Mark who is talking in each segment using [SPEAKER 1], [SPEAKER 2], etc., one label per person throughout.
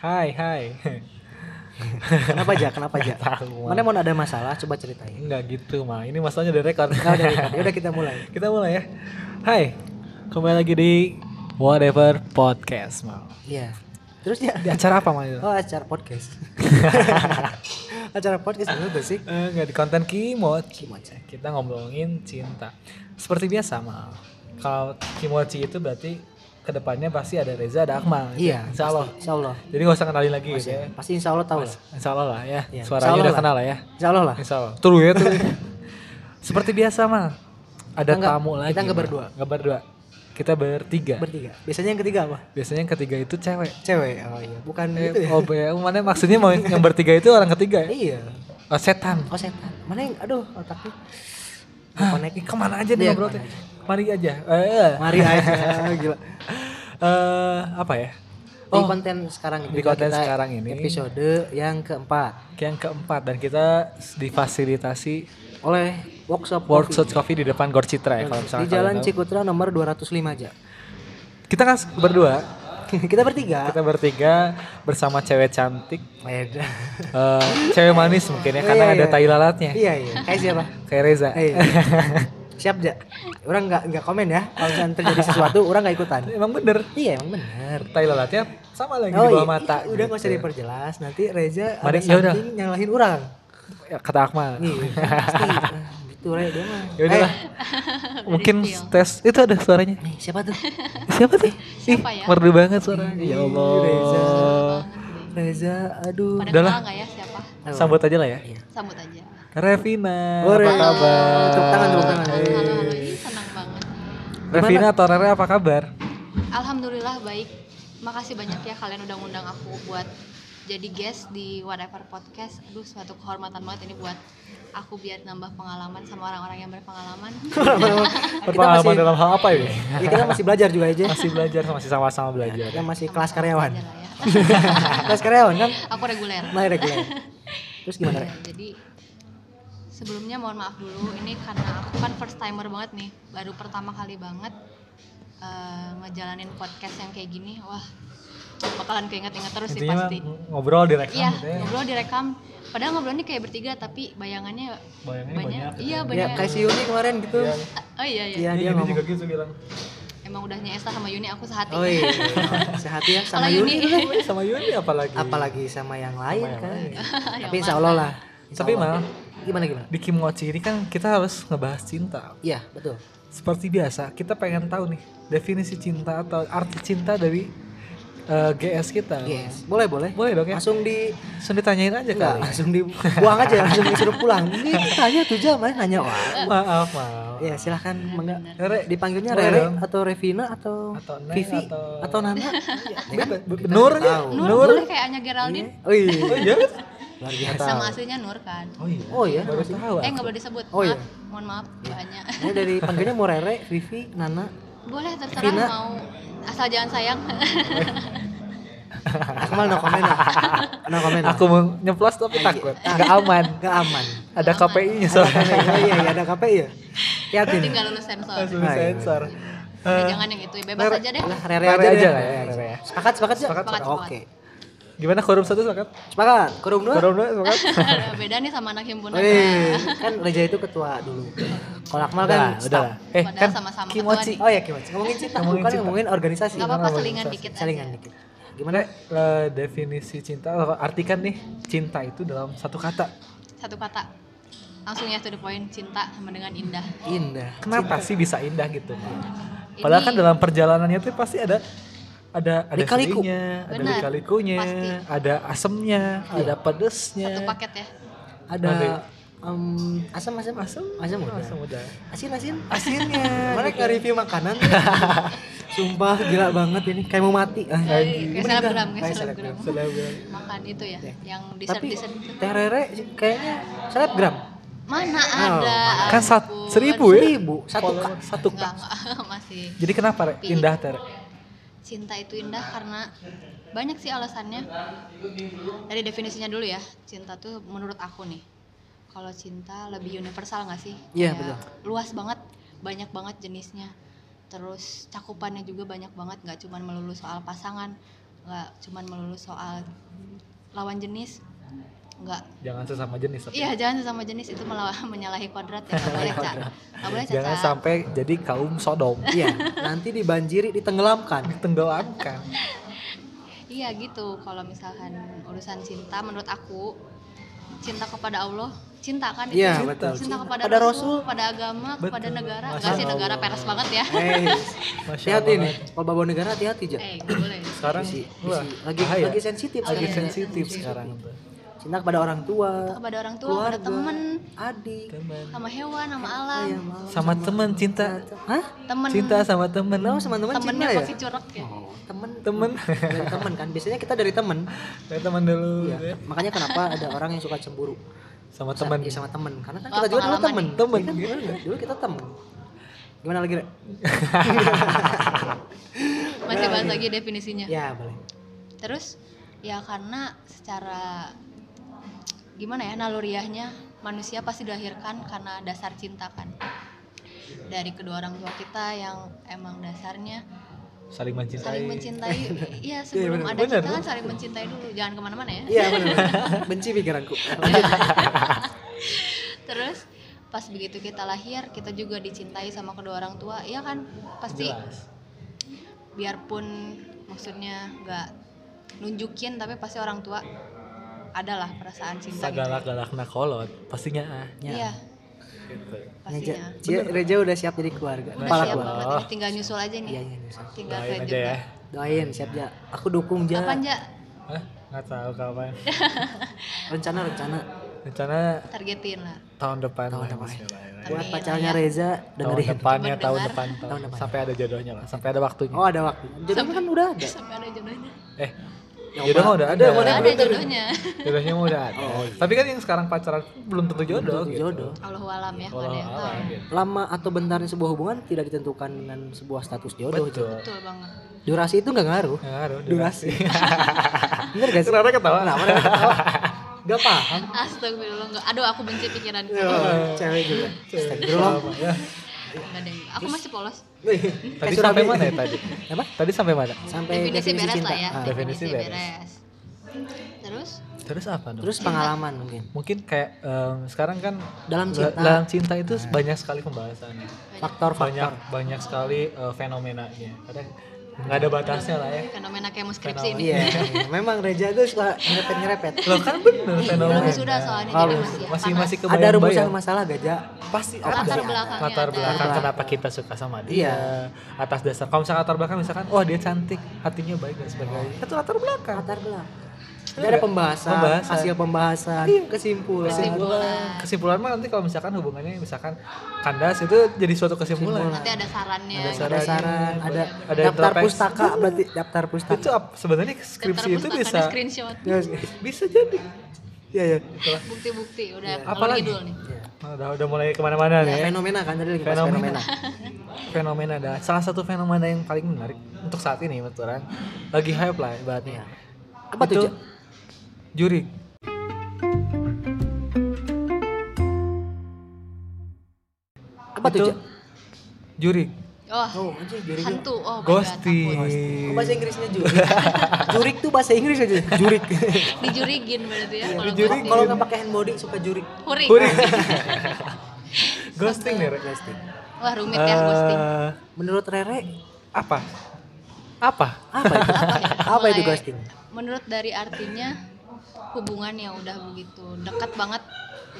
[SPEAKER 1] Hai, hai.
[SPEAKER 2] Kenapa aja? Kenapa aja?
[SPEAKER 1] Nggak tahu,
[SPEAKER 2] Mana mau ada masalah? Coba ceritain.
[SPEAKER 1] Enggak gitu, Ma. Ini masalahnya udah rekor.
[SPEAKER 2] Nah, udah, udah, udah kita mulai.
[SPEAKER 1] Kita mulai ya. Hai. Kembali lagi di Whatever Podcast, Ma. Eh,
[SPEAKER 2] Iya. Terus ya.
[SPEAKER 1] Di acara apa, Ma? itu?
[SPEAKER 2] Oh, acara podcast. acara podcast dulu tuh sih.
[SPEAKER 1] Eh, Enggak di konten Kimochi.
[SPEAKER 2] Gimana?
[SPEAKER 1] Kita ngomongin cinta. Seperti biasa, Ma. Kalau Kimochi itu berarti kedepannya pasti ada Reza, ada Akmal. gitu.
[SPEAKER 2] Iya.
[SPEAKER 1] Insya Allah.
[SPEAKER 2] pasti. Insya Allah.
[SPEAKER 1] Jadi gak usah kenalin lagi
[SPEAKER 2] Pasti,
[SPEAKER 1] gitu ya.
[SPEAKER 2] pasti insya Allah tahu lah.
[SPEAKER 1] Insya Allah lah ya.
[SPEAKER 2] Iya, insya
[SPEAKER 1] Suaranya
[SPEAKER 2] Allah
[SPEAKER 1] udah
[SPEAKER 2] lah.
[SPEAKER 1] kenal lah ya.
[SPEAKER 2] Insya Allah lah.
[SPEAKER 1] Insya Allah. True ya true. Seperti biasa mah ada
[SPEAKER 2] Kita nggak-
[SPEAKER 1] tamu
[SPEAKER 2] kita
[SPEAKER 1] lagi.
[SPEAKER 2] nggak
[SPEAKER 1] Ma.
[SPEAKER 2] berdua.
[SPEAKER 1] Nggak berdua. Kita bertiga.
[SPEAKER 2] Bertiga. Biasanya yang ketiga apa?
[SPEAKER 1] Biasanya yang ketiga itu cewek.
[SPEAKER 2] Cewek. Oh iya. Bukan
[SPEAKER 1] Eh,
[SPEAKER 2] gitu ya.
[SPEAKER 1] oh, ya, mana maksudnya mau yang bertiga itu orang ketiga ya?
[SPEAKER 2] Iya.
[SPEAKER 1] Oh, setan.
[SPEAKER 2] Oh setan. Mana yang? Aduh otakku.
[SPEAKER 1] Hah,
[SPEAKER 2] Konek.
[SPEAKER 1] ih, kemana aja nih
[SPEAKER 2] Iya,
[SPEAKER 1] ngobrol
[SPEAKER 2] kemana
[SPEAKER 1] teh? Mari aja. Eh,
[SPEAKER 2] Mari aja. Gila.
[SPEAKER 1] eh, apa ya?
[SPEAKER 2] Di
[SPEAKER 1] Oh,
[SPEAKER 2] konten sekarang ini
[SPEAKER 1] di konten
[SPEAKER 2] kita
[SPEAKER 1] sekarang ini.
[SPEAKER 2] Episode yang keempat
[SPEAKER 1] yang keempat dan kita difasilitasi
[SPEAKER 2] oleh workshop Coffee.
[SPEAKER 1] workshop coffee di depan Gor Citra ya kalau misalnya
[SPEAKER 2] di Jalan
[SPEAKER 1] kalian tahu.
[SPEAKER 2] Cikutra nomor 205 aja.
[SPEAKER 1] Kita kan berdua,
[SPEAKER 2] kita bertiga.
[SPEAKER 1] kita bertiga bersama cewek cantik
[SPEAKER 2] Beda.
[SPEAKER 1] Eh, cewek manis mungkin ya karena
[SPEAKER 2] Iya,
[SPEAKER 1] ada
[SPEAKER 2] iya.
[SPEAKER 1] tai lalatnya
[SPEAKER 2] iya iya. Kayak siapa?
[SPEAKER 1] kayak Reza
[SPEAKER 2] Iya. Siap ja. Orang nggak nggak komen ya. Kalau misalnya terjadi sesuatu, orang nggak ikutan.
[SPEAKER 1] emang bener
[SPEAKER 2] Iya emang bener.
[SPEAKER 1] tai lalatnya sama lagi di
[SPEAKER 2] Oh iya,
[SPEAKER 1] bawah mata
[SPEAKER 2] iya, udah nggak usah
[SPEAKER 1] gitu.
[SPEAKER 2] diperjelas. Nanti Reza
[SPEAKER 1] Mari,
[SPEAKER 2] ada
[SPEAKER 1] ya udah.
[SPEAKER 2] something yang lain orang.
[SPEAKER 1] Ya, kata Akmal
[SPEAKER 2] Nih, pasti. Ah, Gitu Reza dia mah.
[SPEAKER 1] ya udah
[SPEAKER 2] Eh,
[SPEAKER 1] lah. mungkin
[SPEAKER 3] ya.
[SPEAKER 1] tes itu ada suaranya
[SPEAKER 2] nih, siapa tuh?
[SPEAKER 1] siapa tuh
[SPEAKER 3] Siapa
[SPEAKER 1] Ih,
[SPEAKER 3] ya?
[SPEAKER 1] merdu banget suaranya
[SPEAKER 2] Ih,
[SPEAKER 1] ya
[SPEAKER 2] Reza.
[SPEAKER 1] Allah
[SPEAKER 2] Reza, aduh.
[SPEAKER 3] Pada
[SPEAKER 1] Udah lah.
[SPEAKER 3] kenal nggak ya siapa?
[SPEAKER 2] Aduh.
[SPEAKER 1] sambut aja lah ya
[SPEAKER 2] Iya.
[SPEAKER 3] Sambut aja.
[SPEAKER 1] Revina
[SPEAKER 2] Oh,
[SPEAKER 1] apa
[SPEAKER 2] Revina.
[SPEAKER 1] kabar
[SPEAKER 2] Tepuk tangan, tepuk tangan.
[SPEAKER 3] Halo, halo, halo. Ih, senang banget.
[SPEAKER 1] Revina atau Rere apa kabar
[SPEAKER 3] Alhamdulillah baik. Makasih banyak ya kalian udah ngundang aku buat jadi guest di Whatever Podcast. Aduh, suatu kehormatan banget ini buat aku biar nambah pengalaman sama orang-orang yang berpengalaman.
[SPEAKER 2] kita masih
[SPEAKER 1] berpengalaman dalam hal apa ini
[SPEAKER 2] ya, kita masih belajar juga aja.
[SPEAKER 1] masih belajar masih sama-sama belajar
[SPEAKER 2] Kita masih kelas karyawan.
[SPEAKER 3] Aja lah ya.
[SPEAKER 2] kelas karyawan kan?
[SPEAKER 3] Aku reguler.
[SPEAKER 2] Mulai reguler. Terus gimana? Rek?
[SPEAKER 3] Iya, jadi sebelumnya mohon maaf dulu ini karena aku kan first timer banget nih, baru pertama kali banget eh, ngejalanin podcast yang kayak gini. Wah, bakalan keinget-inget terus sih
[SPEAKER 1] intinya
[SPEAKER 3] pasti.
[SPEAKER 1] ngobrol direkam
[SPEAKER 3] Iya,
[SPEAKER 1] gitu ya
[SPEAKER 3] ngobrol direkam. Padahal ngobrolnya kayak bertiga tapi bayangannya
[SPEAKER 1] bayangannya banyak,
[SPEAKER 3] banyak. Iya,
[SPEAKER 2] Ya
[SPEAKER 3] banyak.
[SPEAKER 2] kayak si Yuni kemarin gitu.
[SPEAKER 1] Iya.
[SPEAKER 3] Oh iya iya.
[SPEAKER 2] Iya
[SPEAKER 1] Ini
[SPEAKER 2] dia ngomong.
[SPEAKER 1] juga gitu bilang
[SPEAKER 3] Emang udahnya Esta sama Yuni aku sehati.
[SPEAKER 2] Oh iya. Sehati ya sama
[SPEAKER 3] Kalau Yuni.
[SPEAKER 2] Yuni.
[SPEAKER 1] Eh, sama Yuni apalagi
[SPEAKER 2] Apalagi sama yang lain
[SPEAKER 1] yang
[SPEAKER 2] kan.
[SPEAKER 1] lain.
[SPEAKER 2] Tapi insya Allah lah. Insya
[SPEAKER 1] tapi
[SPEAKER 2] Allah.
[SPEAKER 1] mal
[SPEAKER 2] Gimana gimana?
[SPEAKER 1] di Kim Ngoci ini kan kita harus ngebahas cinta
[SPEAKER 2] Iya betul.
[SPEAKER 1] seperti biasa kita pengen tahu nih definisi cinta atau arti cinta dari eh, GS kita
[SPEAKER 2] Yes. Boleh boleh.
[SPEAKER 1] boleh dong ya
[SPEAKER 2] Langsung di
[SPEAKER 1] langsung ditanyain aja
[SPEAKER 2] enggak
[SPEAKER 1] kali
[SPEAKER 2] langsung dibuang aja langsung disuruh pulang. Ini tanya tuh jam eh, nanya wah.
[SPEAKER 1] maaf maaf
[SPEAKER 2] Ya silahkan mengga-
[SPEAKER 1] Rere,
[SPEAKER 2] dipanggilnya
[SPEAKER 1] Boleh
[SPEAKER 2] Rere
[SPEAKER 1] dong.
[SPEAKER 2] atau Revina atau,
[SPEAKER 1] Atau Neng,
[SPEAKER 2] Vivi
[SPEAKER 1] atau-
[SPEAKER 2] atau, Nana. Iya.
[SPEAKER 1] Be- be- be- Nur
[SPEAKER 2] kan nggak
[SPEAKER 1] ya?
[SPEAKER 2] tahu.
[SPEAKER 3] Nur,
[SPEAKER 1] Nur?
[SPEAKER 3] Nur, kayak Anya Geraldine.
[SPEAKER 2] Oh iya.
[SPEAKER 1] Oh iya?
[SPEAKER 2] Luar biasa.
[SPEAKER 3] Sama aslinya Nur kan.
[SPEAKER 1] Oh iya.
[SPEAKER 2] Oh iya.
[SPEAKER 1] Baru tahu.
[SPEAKER 3] Eh
[SPEAKER 1] aku.
[SPEAKER 3] nggak boleh disebut.
[SPEAKER 2] Oh iya.
[SPEAKER 3] maaf. Mohon maaf banyak.
[SPEAKER 2] Ini dari panggilnya mau Rere, Vivi, Nana.
[SPEAKER 3] Boleh terserah
[SPEAKER 2] Vina.
[SPEAKER 3] mau asal jangan sayang.
[SPEAKER 2] Akmal no comment. ah. No comment. ah. iya.
[SPEAKER 1] Aku mau nyeplos tapi takut. Enggak aman.
[SPEAKER 2] nggak aman.
[SPEAKER 1] Ada KPI-nya soalnya.
[SPEAKER 2] Oh iya, iya ada KPI ya. Yakin.
[SPEAKER 3] Tinggal lulus sensor.
[SPEAKER 1] Langsung
[SPEAKER 2] Ah, iya.
[SPEAKER 1] sensor.
[SPEAKER 2] Ah,
[SPEAKER 3] Udah jangan yang itu, ya, bebas aja deh.
[SPEAKER 2] Lah
[SPEAKER 1] Rere
[SPEAKER 2] Rere aja
[SPEAKER 1] aja
[SPEAKER 2] deh.
[SPEAKER 1] lah ya, Rere ya.
[SPEAKER 2] Sepakat, sepakat, ya?
[SPEAKER 1] Sepakat,
[SPEAKER 3] sepakat.
[SPEAKER 2] Oke.
[SPEAKER 1] Gimana korum satu sepakat?
[SPEAKER 2] Sepakat. Korum dua.
[SPEAKER 1] Korum dua sepakat?
[SPEAKER 3] Beda nih sama anak himpunan. ya.
[SPEAKER 2] Wih, kan Reja itu ketua dulu. Kalau Akmal kan
[SPEAKER 1] Udah, udah
[SPEAKER 2] staff.
[SPEAKER 1] lah. Eh,
[SPEAKER 3] Padahal
[SPEAKER 1] kan
[SPEAKER 3] sama-sama
[SPEAKER 1] Kimochi.
[SPEAKER 2] Oh iya, gimana? Ngomongin cinta,
[SPEAKER 1] Ngomongin
[SPEAKER 2] bukan
[SPEAKER 1] cinta.
[SPEAKER 2] ngomongin organisasi.
[SPEAKER 3] Gak apa-apa selingan dikit aja.
[SPEAKER 2] Salingan dikit.
[SPEAKER 1] Gimana eh, definisi cinta? Atau Artikan nih cinta itu dalam satu kata.
[SPEAKER 3] Satu kata. Langsung ya to the point, cinta sama dengan indah.
[SPEAKER 2] Indah.
[SPEAKER 1] Kenapa sih bisa indah gitu? Padahal kan dalam perjalanannya tuh pasti ada ada ada
[SPEAKER 2] Lika-liku.
[SPEAKER 1] sedihnya, ada
[SPEAKER 3] Benar,
[SPEAKER 1] lika-likunya,
[SPEAKER 3] pasti.
[SPEAKER 1] ada asemnya,
[SPEAKER 2] Iya.
[SPEAKER 1] ada pedesnya.
[SPEAKER 3] Satu paket ya.
[SPEAKER 1] Oke.
[SPEAKER 2] Ada em, asam, asam, asam, asam, udah.
[SPEAKER 1] Asam udah.
[SPEAKER 2] asin, asin.
[SPEAKER 1] Asinnya.
[SPEAKER 2] Kemarin nge-review makanan gitu. Sumpah gila banget ini Kayak mau mati ah,
[SPEAKER 3] Kayak selebgram, kayak
[SPEAKER 2] Kayak
[SPEAKER 3] selebgram.
[SPEAKER 1] Eh, Selebgram.
[SPEAKER 3] Makan itu ya, yang dessert
[SPEAKER 2] Tapi
[SPEAKER 3] dessert itu.
[SPEAKER 2] Teh Rere sih kayaknya selebgram
[SPEAKER 3] Mana ada?
[SPEAKER 1] Kan sat-
[SPEAKER 3] ampun.
[SPEAKER 1] seribu ya?
[SPEAKER 2] Seribu Satu
[SPEAKER 1] Follower
[SPEAKER 2] kak
[SPEAKER 1] satu K.
[SPEAKER 3] Enggak, enggak, masih.
[SPEAKER 1] Jadi kenapa Re?
[SPEAKER 3] Tapi-
[SPEAKER 1] indah ter?
[SPEAKER 3] cinta itu indah karena banyak sih alasannya dari definisinya dulu ya cinta tuh menurut aku nih kalau cinta lebih universal nggak sih
[SPEAKER 2] Iya,
[SPEAKER 3] Kayak
[SPEAKER 2] betul.
[SPEAKER 3] luas banget banyak banget jenisnya terus cakupannya juga banyak banget nggak cuma melulu soal pasangan nggak nggak cuman melulu soal lawan jenis nggak
[SPEAKER 1] Jangan sesama jenis. tapi.
[SPEAKER 3] iya jangan sesama jenis itu malah menyalahi kodrat ya nggak boleh cak nggak boleh
[SPEAKER 1] Jangan
[SPEAKER 3] Caca.
[SPEAKER 1] sampai jadi kaum Sodom.
[SPEAKER 2] Iya, nanti dibanjiri, ditenggelamkan.
[SPEAKER 1] Ditenggelamkan.
[SPEAKER 3] Iya gitu, kalau misalkan urusan cinta menurut aku cinta kepada Allah, cinta kan itu.
[SPEAKER 2] Iya,
[SPEAKER 3] cinta.
[SPEAKER 2] betul.
[SPEAKER 3] Cinta kepada
[SPEAKER 2] Pada
[SPEAKER 3] Rasul,
[SPEAKER 2] Rasul.
[SPEAKER 3] kepada agama, kepada
[SPEAKER 1] Betul.
[SPEAKER 3] negara.
[SPEAKER 1] Masya
[SPEAKER 3] Enggak sih negara
[SPEAKER 1] Allah.
[SPEAKER 3] peres banget ya.
[SPEAKER 2] Eh, iya.
[SPEAKER 1] Masya
[SPEAKER 2] hati-hati
[SPEAKER 1] Allah.
[SPEAKER 2] nih. Kalau bawa negara hati-hati aja.
[SPEAKER 3] Eh, nggak boleh.
[SPEAKER 1] Sekarang
[SPEAKER 2] Bisi-
[SPEAKER 1] wah,
[SPEAKER 2] bisi- lagi
[SPEAKER 1] bahaya.
[SPEAKER 2] lagi sensitif
[SPEAKER 1] Lagi
[SPEAKER 3] Iya,
[SPEAKER 2] sekarang.
[SPEAKER 1] sensitif
[SPEAKER 3] sensitif.
[SPEAKER 1] sekarang tuh.
[SPEAKER 2] Cinta kepada orang tua,
[SPEAKER 3] Kepada orang tua,
[SPEAKER 2] keluarga, Iya,
[SPEAKER 3] kepada temen,
[SPEAKER 2] adik,
[SPEAKER 1] Teman.
[SPEAKER 3] sama hewan, sama alam.
[SPEAKER 2] ayah, malam,
[SPEAKER 1] Sama teman cinta.
[SPEAKER 2] Hah?
[SPEAKER 3] Temen,
[SPEAKER 1] Cinta sama temen.
[SPEAKER 2] Kenapa sama teman cinta
[SPEAKER 3] temennya
[SPEAKER 2] ya?
[SPEAKER 3] pasti curug ya.
[SPEAKER 2] Oh, temen
[SPEAKER 1] Temen.
[SPEAKER 2] dari temen kan biasanya kita dari temen
[SPEAKER 1] Dari teman dulu.
[SPEAKER 2] Iya.
[SPEAKER 1] ya.
[SPEAKER 2] makanya kenapa ada orang yang suka cemburu
[SPEAKER 1] Sama teman.
[SPEAKER 2] ya, sama temen karena kan
[SPEAKER 3] Wah,
[SPEAKER 2] kita juga dulu
[SPEAKER 3] pengalaman
[SPEAKER 2] temen
[SPEAKER 1] nih. Temen,
[SPEAKER 2] Iya kan?
[SPEAKER 1] gitu.
[SPEAKER 2] Dulu- dulu kita temen gimana lagi Re?
[SPEAKER 3] Masih
[SPEAKER 2] Iya,
[SPEAKER 3] bahas lagi definisinya.
[SPEAKER 2] ya boleh
[SPEAKER 3] Terus ya karena secara gimana ya naluriahnya manusia pasti dilahirkan karena dasar cinta kan dari kedua orang tua kita yang emang dasarnya
[SPEAKER 2] iya.
[SPEAKER 1] Saling mencintai.
[SPEAKER 3] saling mencintai iya sebelum
[SPEAKER 1] bener,
[SPEAKER 3] ada
[SPEAKER 1] bener.
[SPEAKER 3] cinta kan saling mencintai dulu jangan kemana-mana ya
[SPEAKER 2] iya bener, bener. benci pikiranku
[SPEAKER 3] Iya, terus pas begitu kita lahir kita juga dicintai sama kedua orang tua iya kan pasti
[SPEAKER 1] Jelas.
[SPEAKER 3] biarpun maksudnya nggak nunjukin tapi pasti orang tua adalah perasaan cinta gitu
[SPEAKER 1] Segalak-galakna kolot. Pastinya ah.
[SPEAKER 3] iya
[SPEAKER 1] Gitu.
[SPEAKER 3] pastinya
[SPEAKER 2] Cia, Reja udah siap jadi keluarga
[SPEAKER 1] Udah
[SPEAKER 2] kepala
[SPEAKER 3] siap
[SPEAKER 1] gua.
[SPEAKER 2] keluarga
[SPEAKER 3] banget ini tinggal nyusul aja nih
[SPEAKER 2] iya iya bisa.
[SPEAKER 3] tinggal
[SPEAKER 1] Doain
[SPEAKER 3] kalian
[SPEAKER 1] aja
[SPEAKER 3] juga
[SPEAKER 1] ya.
[SPEAKER 2] doain siap ja aku dukung ja
[SPEAKER 3] kapan ja
[SPEAKER 1] Hah? Nggak tahu kapan.
[SPEAKER 2] rencana rencana
[SPEAKER 1] Rencana
[SPEAKER 3] targetin lah
[SPEAKER 1] tahun depan.
[SPEAKER 2] Tahun
[SPEAKER 1] lah,
[SPEAKER 2] depan.
[SPEAKER 1] bismillah.
[SPEAKER 2] buat
[SPEAKER 3] Amin,
[SPEAKER 2] pacarnya
[SPEAKER 3] ya.
[SPEAKER 2] Reza
[SPEAKER 1] Tahun
[SPEAKER 2] dengerin
[SPEAKER 1] depannya,
[SPEAKER 3] Mendengar.
[SPEAKER 1] tahun depan, tahun,
[SPEAKER 2] Tahun depan.
[SPEAKER 1] sampai ada jodohnya lah, sampai ada waktunya.
[SPEAKER 2] oh ada waktu jodohnya kan udah ada
[SPEAKER 3] sampai ada jodohnya
[SPEAKER 1] Eh,
[SPEAKER 2] Ya,
[SPEAKER 1] jodoh mah
[SPEAKER 2] Pak.
[SPEAKER 1] udah ada.
[SPEAKER 2] Udah, udah
[SPEAKER 3] Nggak ada jodohnya
[SPEAKER 1] Jodohnya mah udah ada. Tapi kan yang sekarang pacaran belum tentu jodoh.
[SPEAKER 2] Oh, iya. tentu
[SPEAKER 1] gitu.
[SPEAKER 2] jodoh.
[SPEAKER 3] Allah alam ya
[SPEAKER 1] Walau
[SPEAKER 3] kalau dia
[SPEAKER 1] alam,
[SPEAKER 3] tahu
[SPEAKER 1] gitu.
[SPEAKER 2] lama atau bentarnya sebuah hubungan tidak ditentukan dengan sebuah status jodoh Ja.
[SPEAKER 1] Betul.
[SPEAKER 3] betul banget
[SPEAKER 2] durasi itu nggak ngaruh
[SPEAKER 1] Nggak ngaruh,
[SPEAKER 2] durasi
[SPEAKER 1] durasi.
[SPEAKER 2] bener gak sih
[SPEAKER 1] Kenapa ketawa?
[SPEAKER 2] Kenapa Nara ketawa? Gak paham
[SPEAKER 3] astagfirullah nggak aduh aku benci pikiran
[SPEAKER 2] Iya.
[SPEAKER 1] Oh.
[SPEAKER 2] cewek juga
[SPEAKER 1] Lama, ya.
[SPEAKER 3] Nggak deh aku masih polos
[SPEAKER 1] Tadi sampai mana ya tadi?
[SPEAKER 2] apa
[SPEAKER 1] Tadi sampai mana?
[SPEAKER 2] Eh, sampai
[SPEAKER 3] definisi beres
[SPEAKER 2] cinta
[SPEAKER 3] lah ya
[SPEAKER 2] Ah,
[SPEAKER 1] definisi
[SPEAKER 3] definisi
[SPEAKER 1] beres.
[SPEAKER 3] beres terus
[SPEAKER 1] Terus apa dong?
[SPEAKER 2] terus pengalaman mungkin
[SPEAKER 1] mungkin kayak em, sekarang kan
[SPEAKER 2] Dalam
[SPEAKER 1] da-
[SPEAKER 2] cinta.
[SPEAKER 1] dalam cinta Nah. itu banyak sekali pembahasannya.
[SPEAKER 3] banyak
[SPEAKER 1] Banyak
[SPEAKER 2] faktor-faktor
[SPEAKER 1] banyak sekali eh, fenomenanya. Kadang nggak ada batasnya lah ya.
[SPEAKER 3] fenomena kayak skripsi ini
[SPEAKER 2] iya memang Reja itu suka nyerepet nyerepet
[SPEAKER 1] Loh kan bener fenomena.
[SPEAKER 3] belum sudah soalnya, jadi
[SPEAKER 1] Harus.
[SPEAKER 3] masih- ya.
[SPEAKER 1] masih
[SPEAKER 3] panas.
[SPEAKER 1] masih
[SPEAKER 2] ada rumusan
[SPEAKER 1] kebayang-bayang.
[SPEAKER 2] masalah
[SPEAKER 1] ya?
[SPEAKER 2] gajah
[SPEAKER 1] Pasti
[SPEAKER 2] Latar
[SPEAKER 1] ada.
[SPEAKER 3] belakangnya
[SPEAKER 1] latar
[SPEAKER 3] ada.
[SPEAKER 1] belakang
[SPEAKER 2] Latar
[SPEAKER 1] kenapa kita suka sama dia.
[SPEAKER 2] Iya.
[SPEAKER 1] Atas dasar kalau misalkan latar belakang misalkan oh dia cantik, hatinya baik dan sebagainya. Itu latar belakang.
[SPEAKER 2] latar belakang Jadi ada pembahasan,
[SPEAKER 1] Pembahasan. Iya,
[SPEAKER 2] hasil pembahasan, kesimpulan.
[SPEAKER 1] kesimpulan kesimpulan mah nanti kalau misalkan hubungannya misalkan kandas itu jadi suatu kesimpulan
[SPEAKER 3] nanti ada sarannya
[SPEAKER 1] Ada
[SPEAKER 3] gitu.
[SPEAKER 2] Ada saran, ada,
[SPEAKER 1] Ada
[SPEAKER 2] daftar
[SPEAKER 1] introspeksi.
[SPEAKER 2] pustaka berarti daftar pustaka.
[SPEAKER 1] itu ap- sebenarnya skripsi
[SPEAKER 3] Daftar
[SPEAKER 1] itu
[SPEAKER 3] pustaka
[SPEAKER 1] bisa
[SPEAKER 3] di screenshot
[SPEAKER 1] bisa jadi
[SPEAKER 2] Iya, iya.
[SPEAKER 3] bukti-bukti udah
[SPEAKER 2] Iya.
[SPEAKER 3] kalau
[SPEAKER 1] Apalagi?
[SPEAKER 3] ngidul nih
[SPEAKER 1] Nah, udah udah mulai kemana-mana
[SPEAKER 2] Ya,
[SPEAKER 1] nih ya.
[SPEAKER 2] fenomena kan tadi lagi bahas
[SPEAKER 1] Fenomena.
[SPEAKER 2] fenomena.
[SPEAKER 1] fenomena ada salah satu fenomena yang paling menarik untuk saat ini menurut orang lagi hype lah ibaratnya
[SPEAKER 2] Iya. Apa
[SPEAKER 1] Itu
[SPEAKER 2] tuh, Cak?
[SPEAKER 1] juri
[SPEAKER 2] Apa tuh,
[SPEAKER 1] itu
[SPEAKER 2] Cak?
[SPEAKER 1] juri
[SPEAKER 3] oh
[SPEAKER 2] Oh, anjing jurik. ya.
[SPEAKER 3] hantu oh my God,
[SPEAKER 1] ghosting
[SPEAKER 3] takut.
[SPEAKER 2] Kok bahasa Inggrisnya jurik? jurik tuh bahasa Inggris aja, jurik.
[SPEAKER 3] dijurigin berarti
[SPEAKER 2] Iya,
[SPEAKER 3] ya kalau
[SPEAKER 1] dijuri-
[SPEAKER 3] ghosting.
[SPEAKER 2] Kalau nggak pakai hand body suka jurik.
[SPEAKER 3] Huring.
[SPEAKER 1] Juri. ghosting nih Rek.
[SPEAKER 2] Plastik.
[SPEAKER 3] wah rumit ya ghosting
[SPEAKER 1] Eh,
[SPEAKER 2] Menurut Rere,
[SPEAKER 1] apa apa
[SPEAKER 2] apa itu? apa itu
[SPEAKER 3] Mulai-
[SPEAKER 2] ghosting?
[SPEAKER 3] menurut dari artinya hubungan yang udah begitu dekat banget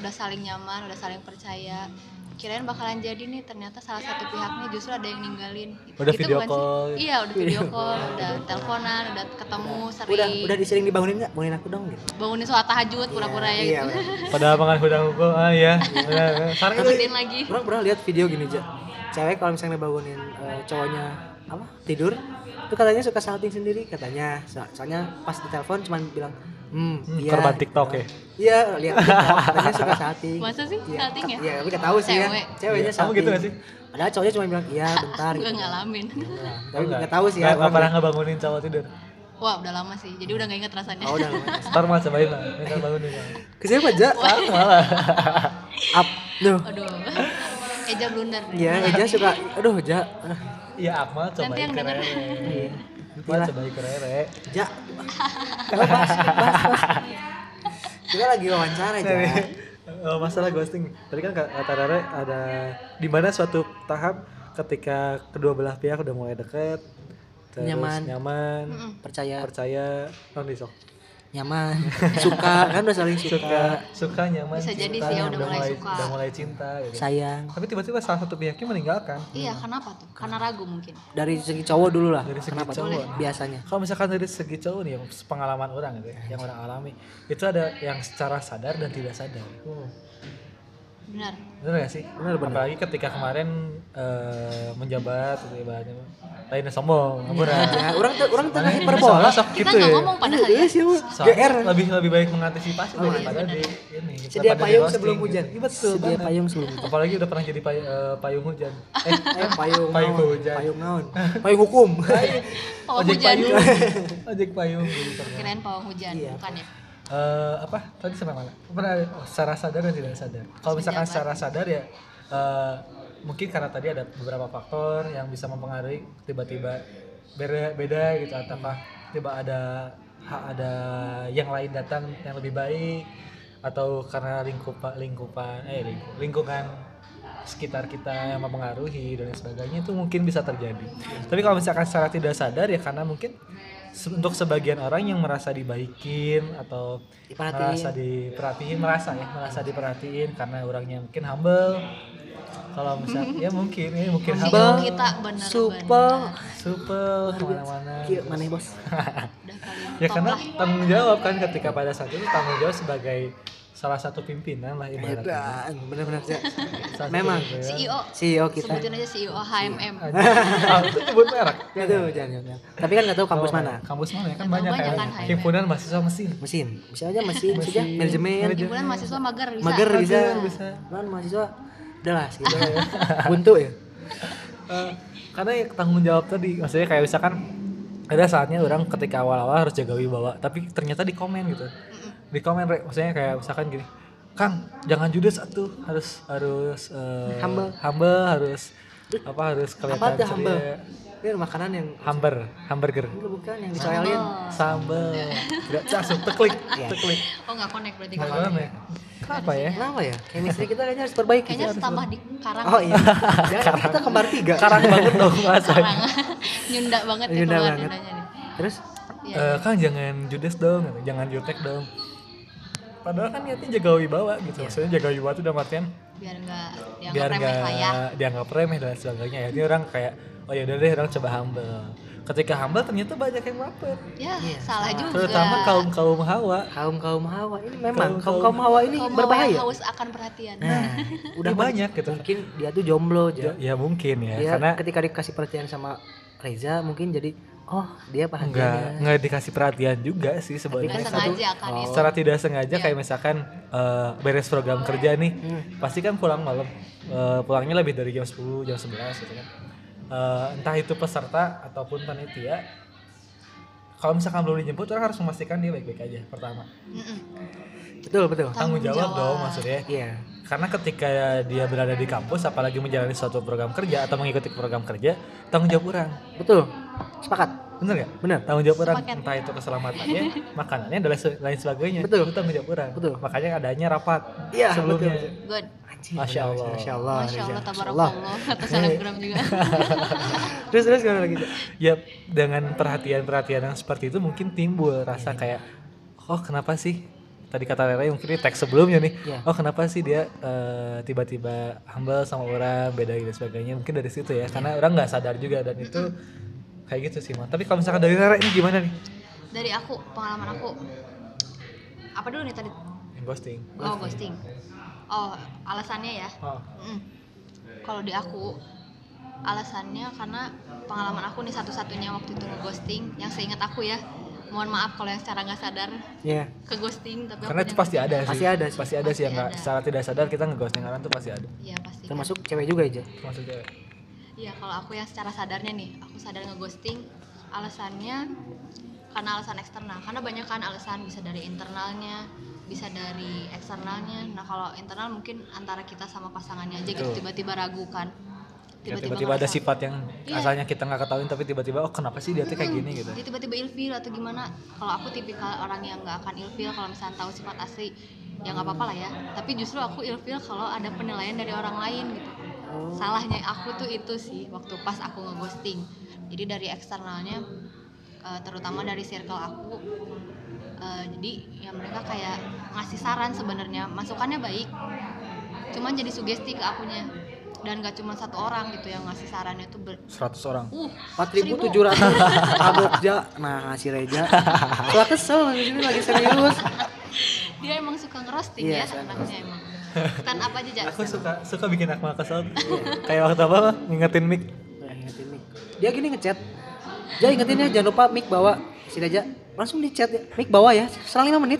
[SPEAKER 3] udah saling nyaman udah saling percaya kirain bakalan jadi nih ternyata salah satu pihaknya justru ada yang ninggalin
[SPEAKER 1] Udah video
[SPEAKER 3] bukan sih?
[SPEAKER 1] call.
[SPEAKER 3] iya udah video call udah teleponan udah ketemu sering
[SPEAKER 2] gitu. Udah, udah disering dibangunin nggak? Bangunin aku dong gitu.
[SPEAKER 3] bangunin sholat tahajud pura-pura ya
[SPEAKER 2] Iya,
[SPEAKER 3] gitu
[SPEAKER 2] bener.
[SPEAKER 1] padahal makan hudang aku ah ya sekarang itu
[SPEAKER 3] Bangunin lagi
[SPEAKER 2] Orang pernah lihat video gini aja. Cewek kalau misalnya bangunin eh, cowoknya apa tidur, itu katanya suka salting sendiri katanya. So- soalnya pas ditelepon cuman bilang, hmm,
[SPEAKER 1] Hmm,
[SPEAKER 2] iya,
[SPEAKER 1] korban
[SPEAKER 2] gitu.
[SPEAKER 1] TikTok ya?
[SPEAKER 2] Iya, lihat TikTok, katanya suka salting.
[SPEAKER 3] Masa sih
[SPEAKER 2] Iya,
[SPEAKER 3] salting ya?
[SPEAKER 2] Iya, tapi gak tahu sih ya.
[SPEAKER 3] Cewek.
[SPEAKER 2] Ceweknya
[SPEAKER 1] Iya, kamu
[SPEAKER 2] salting.
[SPEAKER 1] gitu nggak sih?
[SPEAKER 2] Padahal cowoknya cuma bilang, iya bentar
[SPEAKER 3] gue
[SPEAKER 2] gitu.
[SPEAKER 3] ngalamin
[SPEAKER 2] Nah, tapi gak tahu sih ya.
[SPEAKER 1] Nggak
[SPEAKER 2] orang
[SPEAKER 1] pernah ngebangunin cowok tidur.
[SPEAKER 3] wah udah lama sih jadi udah nggak inget rasanya
[SPEAKER 2] nggak- Oh, udah. lumayan.
[SPEAKER 1] Ntar mah cobain lah, ntar bangunin lah.
[SPEAKER 2] Ke siapa aja?
[SPEAKER 1] Sekarang malah.
[SPEAKER 2] Up. Duh.
[SPEAKER 3] aduh Eja blunder
[SPEAKER 2] Ya, Eja suka, aduh, Ja.
[SPEAKER 1] Iya Akmal cobain
[SPEAKER 3] Nanti yang
[SPEAKER 1] keren.
[SPEAKER 3] denger.
[SPEAKER 2] Iya.
[SPEAKER 1] Gua coba ikut rere.
[SPEAKER 2] Ja. Kalau bahas, bahas, bahas. Kita lagi wawancara Ja.
[SPEAKER 1] Nih, eh, masalah ghosting. Tadi kan kata Rere ada di mana suatu tahap ketika kedua belah pihak udah mulai deket, terus
[SPEAKER 2] Nyaman. Iya.
[SPEAKER 1] nyaman,
[SPEAKER 3] Mm-mm.
[SPEAKER 2] Percaya,
[SPEAKER 1] percaya, oh, non disok.
[SPEAKER 2] nyaman, suka, kan udah saling
[SPEAKER 1] Suka,
[SPEAKER 2] suka,
[SPEAKER 1] suka nyaman,
[SPEAKER 3] Bisa jadi
[SPEAKER 1] cinta,
[SPEAKER 3] sih ya,
[SPEAKER 1] yang
[SPEAKER 3] udah mulai suka.
[SPEAKER 1] udah mulai cinta. Gitu.
[SPEAKER 2] sayang.
[SPEAKER 1] Tapi tiba-tiba salah satu pihaknya meninggalkan.
[SPEAKER 3] Iya, kenapa tuh? Karena ragu mungkin.
[SPEAKER 2] Dari segi cowok dulu lah.
[SPEAKER 1] Dari segi
[SPEAKER 2] Kenapa tuh?
[SPEAKER 1] cowok.
[SPEAKER 2] Biasanya.
[SPEAKER 1] Kalau misalkan dari segi cowok nih, yang pengalaman orang gitu ya, yang orang alami, itu ada yang secara sadar dan tidak sadar.
[SPEAKER 2] Oh.
[SPEAKER 3] Benar.
[SPEAKER 1] Bener gak sih? Apalagi ketika kemarin eh, menjabat gitu ibaratnya. Lainnya sombong, ngabura.
[SPEAKER 2] Ya, orang tuh orang tuh
[SPEAKER 1] Makanya
[SPEAKER 2] hiperbola.
[SPEAKER 1] soalnya sok
[SPEAKER 3] Kita
[SPEAKER 1] gitu
[SPEAKER 3] nggak
[SPEAKER 1] ya.
[SPEAKER 3] ngomong pada hari
[SPEAKER 2] Iya sih, Bu.
[SPEAKER 1] Soalnya
[SPEAKER 2] GR.
[SPEAKER 1] lebih lebih baik mengantisipasi
[SPEAKER 2] Oh, iya,
[SPEAKER 1] daripada di ini.
[SPEAKER 2] Sedia
[SPEAKER 1] daripada di
[SPEAKER 2] payung
[SPEAKER 1] roasting
[SPEAKER 2] sebelum
[SPEAKER 1] gitu.
[SPEAKER 2] hujan.
[SPEAKER 1] Iya betul.
[SPEAKER 2] Sedia
[SPEAKER 1] banget.
[SPEAKER 2] payung sebelum hujan.
[SPEAKER 1] Apalagi udah pernah jadi pay- eh, payung hujan. Eh,
[SPEAKER 2] Eh, payung,
[SPEAKER 1] Payung
[SPEAKER 2] naon?
[SPEAKER 1] hujan.
[SPEAKER 2] Payung naon? Payung hukum.
[SPEAKER 1] ojek
[SPEAKER 3] Pawang Oh, hujan.
[SPEAKER 1] payung. Ojek payung gitu pernah.
[SPEAKER 3] Kirain pawang hujan,
[SPEAKER 2] Iya.
[SPEAKER 3] bukan ya?
[SPEAKER 1] Eh, apa tadi sampai mana? Pernah ada- oh, secara sadar dan tidak sadar. Kalau misalkan
[SPEAKER 3] Sejabat.
[SPEAKER 1] secara sadar ya eh, mungkin karena tadi ada beberapa faktor yang bisa mempengaruhi tiba-tiba beda, beda gitu atau apa tiba ada ha- ada yang lain datang yang lebih baik atau karena lingkupan lingkupan eh lingku- lingkungan sekitar kita yang mempengaruhi dan lain sebagainya itu mungkin bisa terjadi. Tapi kalau misalkan secara tidak sadar ya karena mungkin se- untuk sebagian orang yang merasa dibaikin atau merasa
[SPEAKER 2] Diperhatiin.
[SPEAKER 1] diperhatiin merasa ya merasa diperhatiin karena orangnya mungkin humble kalau misalnya ya mungkin ya mungkin humble
[SPEAKER 3] Singgung kita benar-benar.
[SPEAKER 2] Supel.
[SPEAKER 1] super kemana-mana gitu.
[SPEAKER 2] Kieu maneh, Bos.
[SPEAKER 3] Udah kali ini.
[SPEAKER 1] ya
[SPEAKER 3] Top
[SPEAKER 1] karena
[SPEAKER 3] lah.
[SPEAKER 1] tanggung jawab kan ketika pada saat itu tanggung jawab sebagai salah satu pimpinan lah ibaratnya
[SPEAKER 2] Edan, benar-benar Ja.
[SPEAKER 1] Salah satu
[SPEAKER 2] Memang
[SPEAKER 1] pimpinan.
[SPEAKER 3] CEO.
[SPEAKER 2] CEO E oh, kita.
[SPEAKER 3] E Sebutin aja CEO HMM.
[SPEAKER 1] Ah, itu nyebut merek
[SPEAKER 2] Itu jangan jangan. Tapi kan nggak tahu kampus mana.
[SPEAKER 1] kampus mana ya kan
[SPEAKER 3] Nggak
[SPEAKER 1] banyak
[SPEAKER 3] tahu,
[SPEAKER 1] kan
[SPEAKER 3] banyak kan,
[SPEAKER 1] himpunan mahasiswa mesin
[SPEAKER 2] Mesin. Bisa aja mesin,
[SPEAKER 1] Mesin.
[SPEAKER 2] bisa ya, manajemen.
[SPEAKER 1] Manajemen.
[SPEAKER 3] Bulan mahasiswa mager bisa.
[SPEAKER 2] Mager bisa.
[SPEAKER 1] Mager bisa. Oh, iya.
[SPEAKER 2] Cuman mahasiswa udah lah segitu ya. Buntu ya.
[SPEAKER 1] Eh, karena ya tanggung jawab tadi maksudnya kayak misalkan ada saatnya orang ketika awal-awal harus jaga wibawa tapi ternyata di komen gitu di komen Re. maksudnya kayak misalkan gini Kang jangan judes atuh harus harus eh,
[SPEAKER 2] Humble.
[SPEAKER 1] humble, harus apa harus kelihatan
[SPEAKER 2] Apa tuh
[SPEAKER 1] ceria."
[SPEAKER 2] humble? Ini makanan yang
[SPEAKER 1] hamburger hamburger
[SPEAKER 2] Ini bukan yang dicoyalin.
[SPEAKER 1] Oh. sambel tidak langsung teklik
[SPEAKER 2] Iya.
[SPEAKER 1] teklik
[SPEAKER 3] Oh nggak connect berarti
[SPEAKER 1] Nggak
[SPEAKER 3] kalau.
[SPEAKER 1] paham ya. kenapa ya
[SPEAKER 2] Kenapa ya? Chemistry kita kayaknya harus perbaiki.
[SPEAKER 3] Kayaknya harus tambah di karang.
[SPEAKER 2] Oh iya. Jangan nanti kita kembar tiga.
[SPEAKER 1] karang banget dong bahasanya
[SPEAKER 3] Karang. Nyunda banget nih
[SPEAKER 2] Nyunda
[SPEAKER 3] keluar
[SPEAKER 2] banget.
[SPEAKER 3] nyundanya nih.
[SPEAKER 2] Terus
[SPEAKER 3] Iya.
[SPEAKER 1] Eh, Kang jangan judes dong, gitu. jangan jutek dong. Padahal kan niatnya jaga wibawa gitu. Maksudnya jaga wibawa itu udah artian
[SPEAKER 3] biar nggak Iya. dianggap
[SPEAKER 1] biar
[SPEAKER 3] remeh lah ya.
[SPEAKER 1] nggak dianggap remeh dan sebagainya. Jadi orang kayak oh ya udah deh orang coba humble. Ketika humble ternyata banyak yang baper.
[SPEAKER 3] Ya,
[SPEAKER 2] Iya,
[SPEAKER 3] salah juga.
[SPEAKER 1] Terutama kaum kaum hawa.
[SPEAKER 2] kaum kaum hawa ini memang kaum
[SPEAKER 1] Kaum-kaum-
[SPEAKER 2] kaum hawa ini
[SPEAKER 3] Kaum hawa yang
[SPEAKER 2] berbahaya.
[SPEAKER 3] haus akan perhatian.
[SPEAKER 2] Nah, udah
[SPEAKER 1] Udah banyak gitu.
[SPEAKER 2] mungkin dia tuh jomblo
[SPEAKER 1] Ya,
[SPEAKER 2] aja.
[SPEAKER 1] ya mungkin ya,
[SPEAKER 2] Dia
[SPEAKER 1] karena
[SPEAKER 2] Iya, ketika dikasih perhatian sama Reza mungkin jadi oh dia
[SPEAKER 1] nggak
[SPEAKER 2] perhatiannya.
[SPEAKER 1] nggak dikasih perhatian juga sih sebenarnya.
[SPEAKER 3] Nggak
[SPEAKER 2] satu-
[SPEAKER 3] sengaja kan
[SPEAKER 2] Oh.
[SPEAKER 3] itu.
[SPEAKER 1] Secara tidak sengaja kayak misalkan eh, beres program kerja nih,
[SPEAKER 2] Hmm.
[SPEAKER 1] pasti kan pulang malam Eh, pulangnya lebih dari jam 10 jam 11 gitu kan Eh, entah itu peserta ataupun panitia kalau misalkan belum dijemput orang harus memastikan dia baik-baik aja pertama
[SPEAKER 3] Mm-mm.
[SPEAKER 2] Betul betul.
[SPEAKER 1] tanggung
[SPEAKER 3] Tanggung
[SPEAKER 1] jawab
[SPEAKER 3] jawab.
[SPEAKER 1] dong maksudnya
[SPEAKER 2] Iya.
[SPEAKER 1] karena ketika dia berada di kampus apalagi menjalani suatu program kerja atau mengikuti program kerja tanggung jawab orang
[SPEAKER 2] Betul. Sepakat.
[SPEAKER 1] bener gak?
[SPEAKER 2] Benar.
[SPEAKER 1] tanggung jawab orang
[SPEAKER 3] Sepakat.
[SPEAKER 1] entah itu keselamatannya makanannya dan lain- lain sebagainya
[SPEAKER 2] Betul.
[SPEAKER 1] itu tanggung jawab orang
[SPEAKER 2] Betul.
[SPEAKER 1] makanya adanya rapat
[SPEAKER 2] Iya,
[SPEAKER 1] sebelumnya
[SPEAKER 2] betul,
[SPEAKER 3] Good.
[SPEAKER 2] Anjing,
[SPEAKER 1] Masya Allah.
[SPEAKER 2] Masya Allah.
[SPEAKER 3] Masya
[SPEAKER 2] Reza.
[SPEAKER 3] Allah,
[SPEAKER 2] Allah.
[SPEAKER 3] tabarakallah. Atau selebgram juga.
[SPEAKER 2] Terus terus gimana lagi?
[SPEAKER 1] ya dengan perhatian-perhatian yang seperti itu mungkin timbul
[SPEAKER 2] Iya.
[SPEAKER 1] rasa kayak oh kenapa sih tadi kata Rere mungkin di teks sebelumnya nih
[SPEAKER 2] Iya.
[SPEAKER 1] oh kenapa sih dia eh, tiba-tiba humble sama orang beda dan sebagainya mungkin dari situ ya
[SPEAKER 2] Iya.
[SPEAKER 1] karena orang nggak sadar juga dan itu kayak gitu sih Ma. tapi kalau misalkan dari Rere ini gimana nih
[SPEAKER 3] Dari aku, pengalaman aku. Apa dulu nih tadi?
[SPEAKER 1] yang ghosting
[SPEAKER 3] Oh, ghosting. Oh, alasannya ya.
[SPEAKER 1] oh.
[SPEAKER 3] Mm. Kalau di aku alasannya karena pengalaman aku nih satu-satunya waktu itu ghosting yang seingat aku ya. Mohon maaf kalau yang secara nggak sadar
[SPEAKER 2] Iya.
[SPEAKER 3] ke ghosting tapi
[SPEAKER 1] karena itu
[SPEAKER 3] aku yang- gitu.
[SPEAKER 1] pasti ada sih
[SPEAKER 2] Pasti ada sih.
[SPEAKER 1] pasti ada sih yang
[SPEAKER 3] Pasti
[SPEAKER 1] nggak
[SPEAKER 3] ada.
[SPEAKER 1] secara tidak sadar kita ngeghosting orang tuh pasti ada
[SPEAKER 3] Iya pasti.
[SPEAKER 2] Termasuk cewek juga aja.
[SPEAKER 1] maksudnya ya
[SPEAKER 3] Iya, kalau aku yang secara sadarnya nih, aku sadar ngeghosting alasannya karena alasan eksternal. Karena banyak kan alasan bisa dari internalnya, bisa dari eksternalnya. Nah, kalau internal mungkin antara kita sama pasangannya aja gitu
[SPEAKER 1] Betul.
[SPEAKER 3] tiba-tiba ragu kan.
[SPEAKER 1] Kayak
[SPEAKER 3] Tiba-tiba
[SPEAKER 1] tiba-tiba ada
[SPEAKER 3] ngerasa.
[SPEAKER 1] sifat yang
[SPEAKER 3] Iya.
[SPEAKER 1] asalnya kita nggak ketahuin tapi tiba-tiba oh kenapa sih dia tuh kayak
[SPEAKER 3] Mm-mm.
[SPEAKER 1] gini gitu
[SPEAKER 3] Dia tiba-tiba ilfil atau gimana? Kalau aku tipikal orang yang nggak akan ilfil kalau misalnya tahu sifat asli, ya nggak apa-apa lah ya. Tapi justru aku ilfil kalau ada penilaian dari orang lain gitu.
[SPEAKER 2] Oh.
[SPEAKER 3] Salahnya aku tuh itu sih waktu pas aku ngeghosting. Jadi dari eksternalnya, eh, terutama dari circle aku, eh, jadi ya mereka kayak ngasih saran sebenarnya, masukannya baik, cuman jadi sugesti ke akunya. Dan gak cuma satu orang gitu yang ngasih sarannya tuh ber
[SPEAKER 1] 100 orang
[SPEAKER 3] Uh,
[SPEAKER 2] 4700 Abokja nah si Reja gua kesel di sini lagi serius
[SPEAKER 3] dia emang suka ngerosting
[SPEAKER 2] Iya,
[SPEAKER 3] ya
[SPEAKER 2] suka
[SPEAKER 3] anaknya emang stand up aja aja
[SPEAKER 1] aku suka suka bikin Akmal kesel kayak waktu apa ngingetin mic
[SPEAKER 2] Nah, ingetin mic dia gini ngechat dia ingetin ya jangan lupa mic bawa si Reja langsung di chat ya mic bawa ya selang 5 menit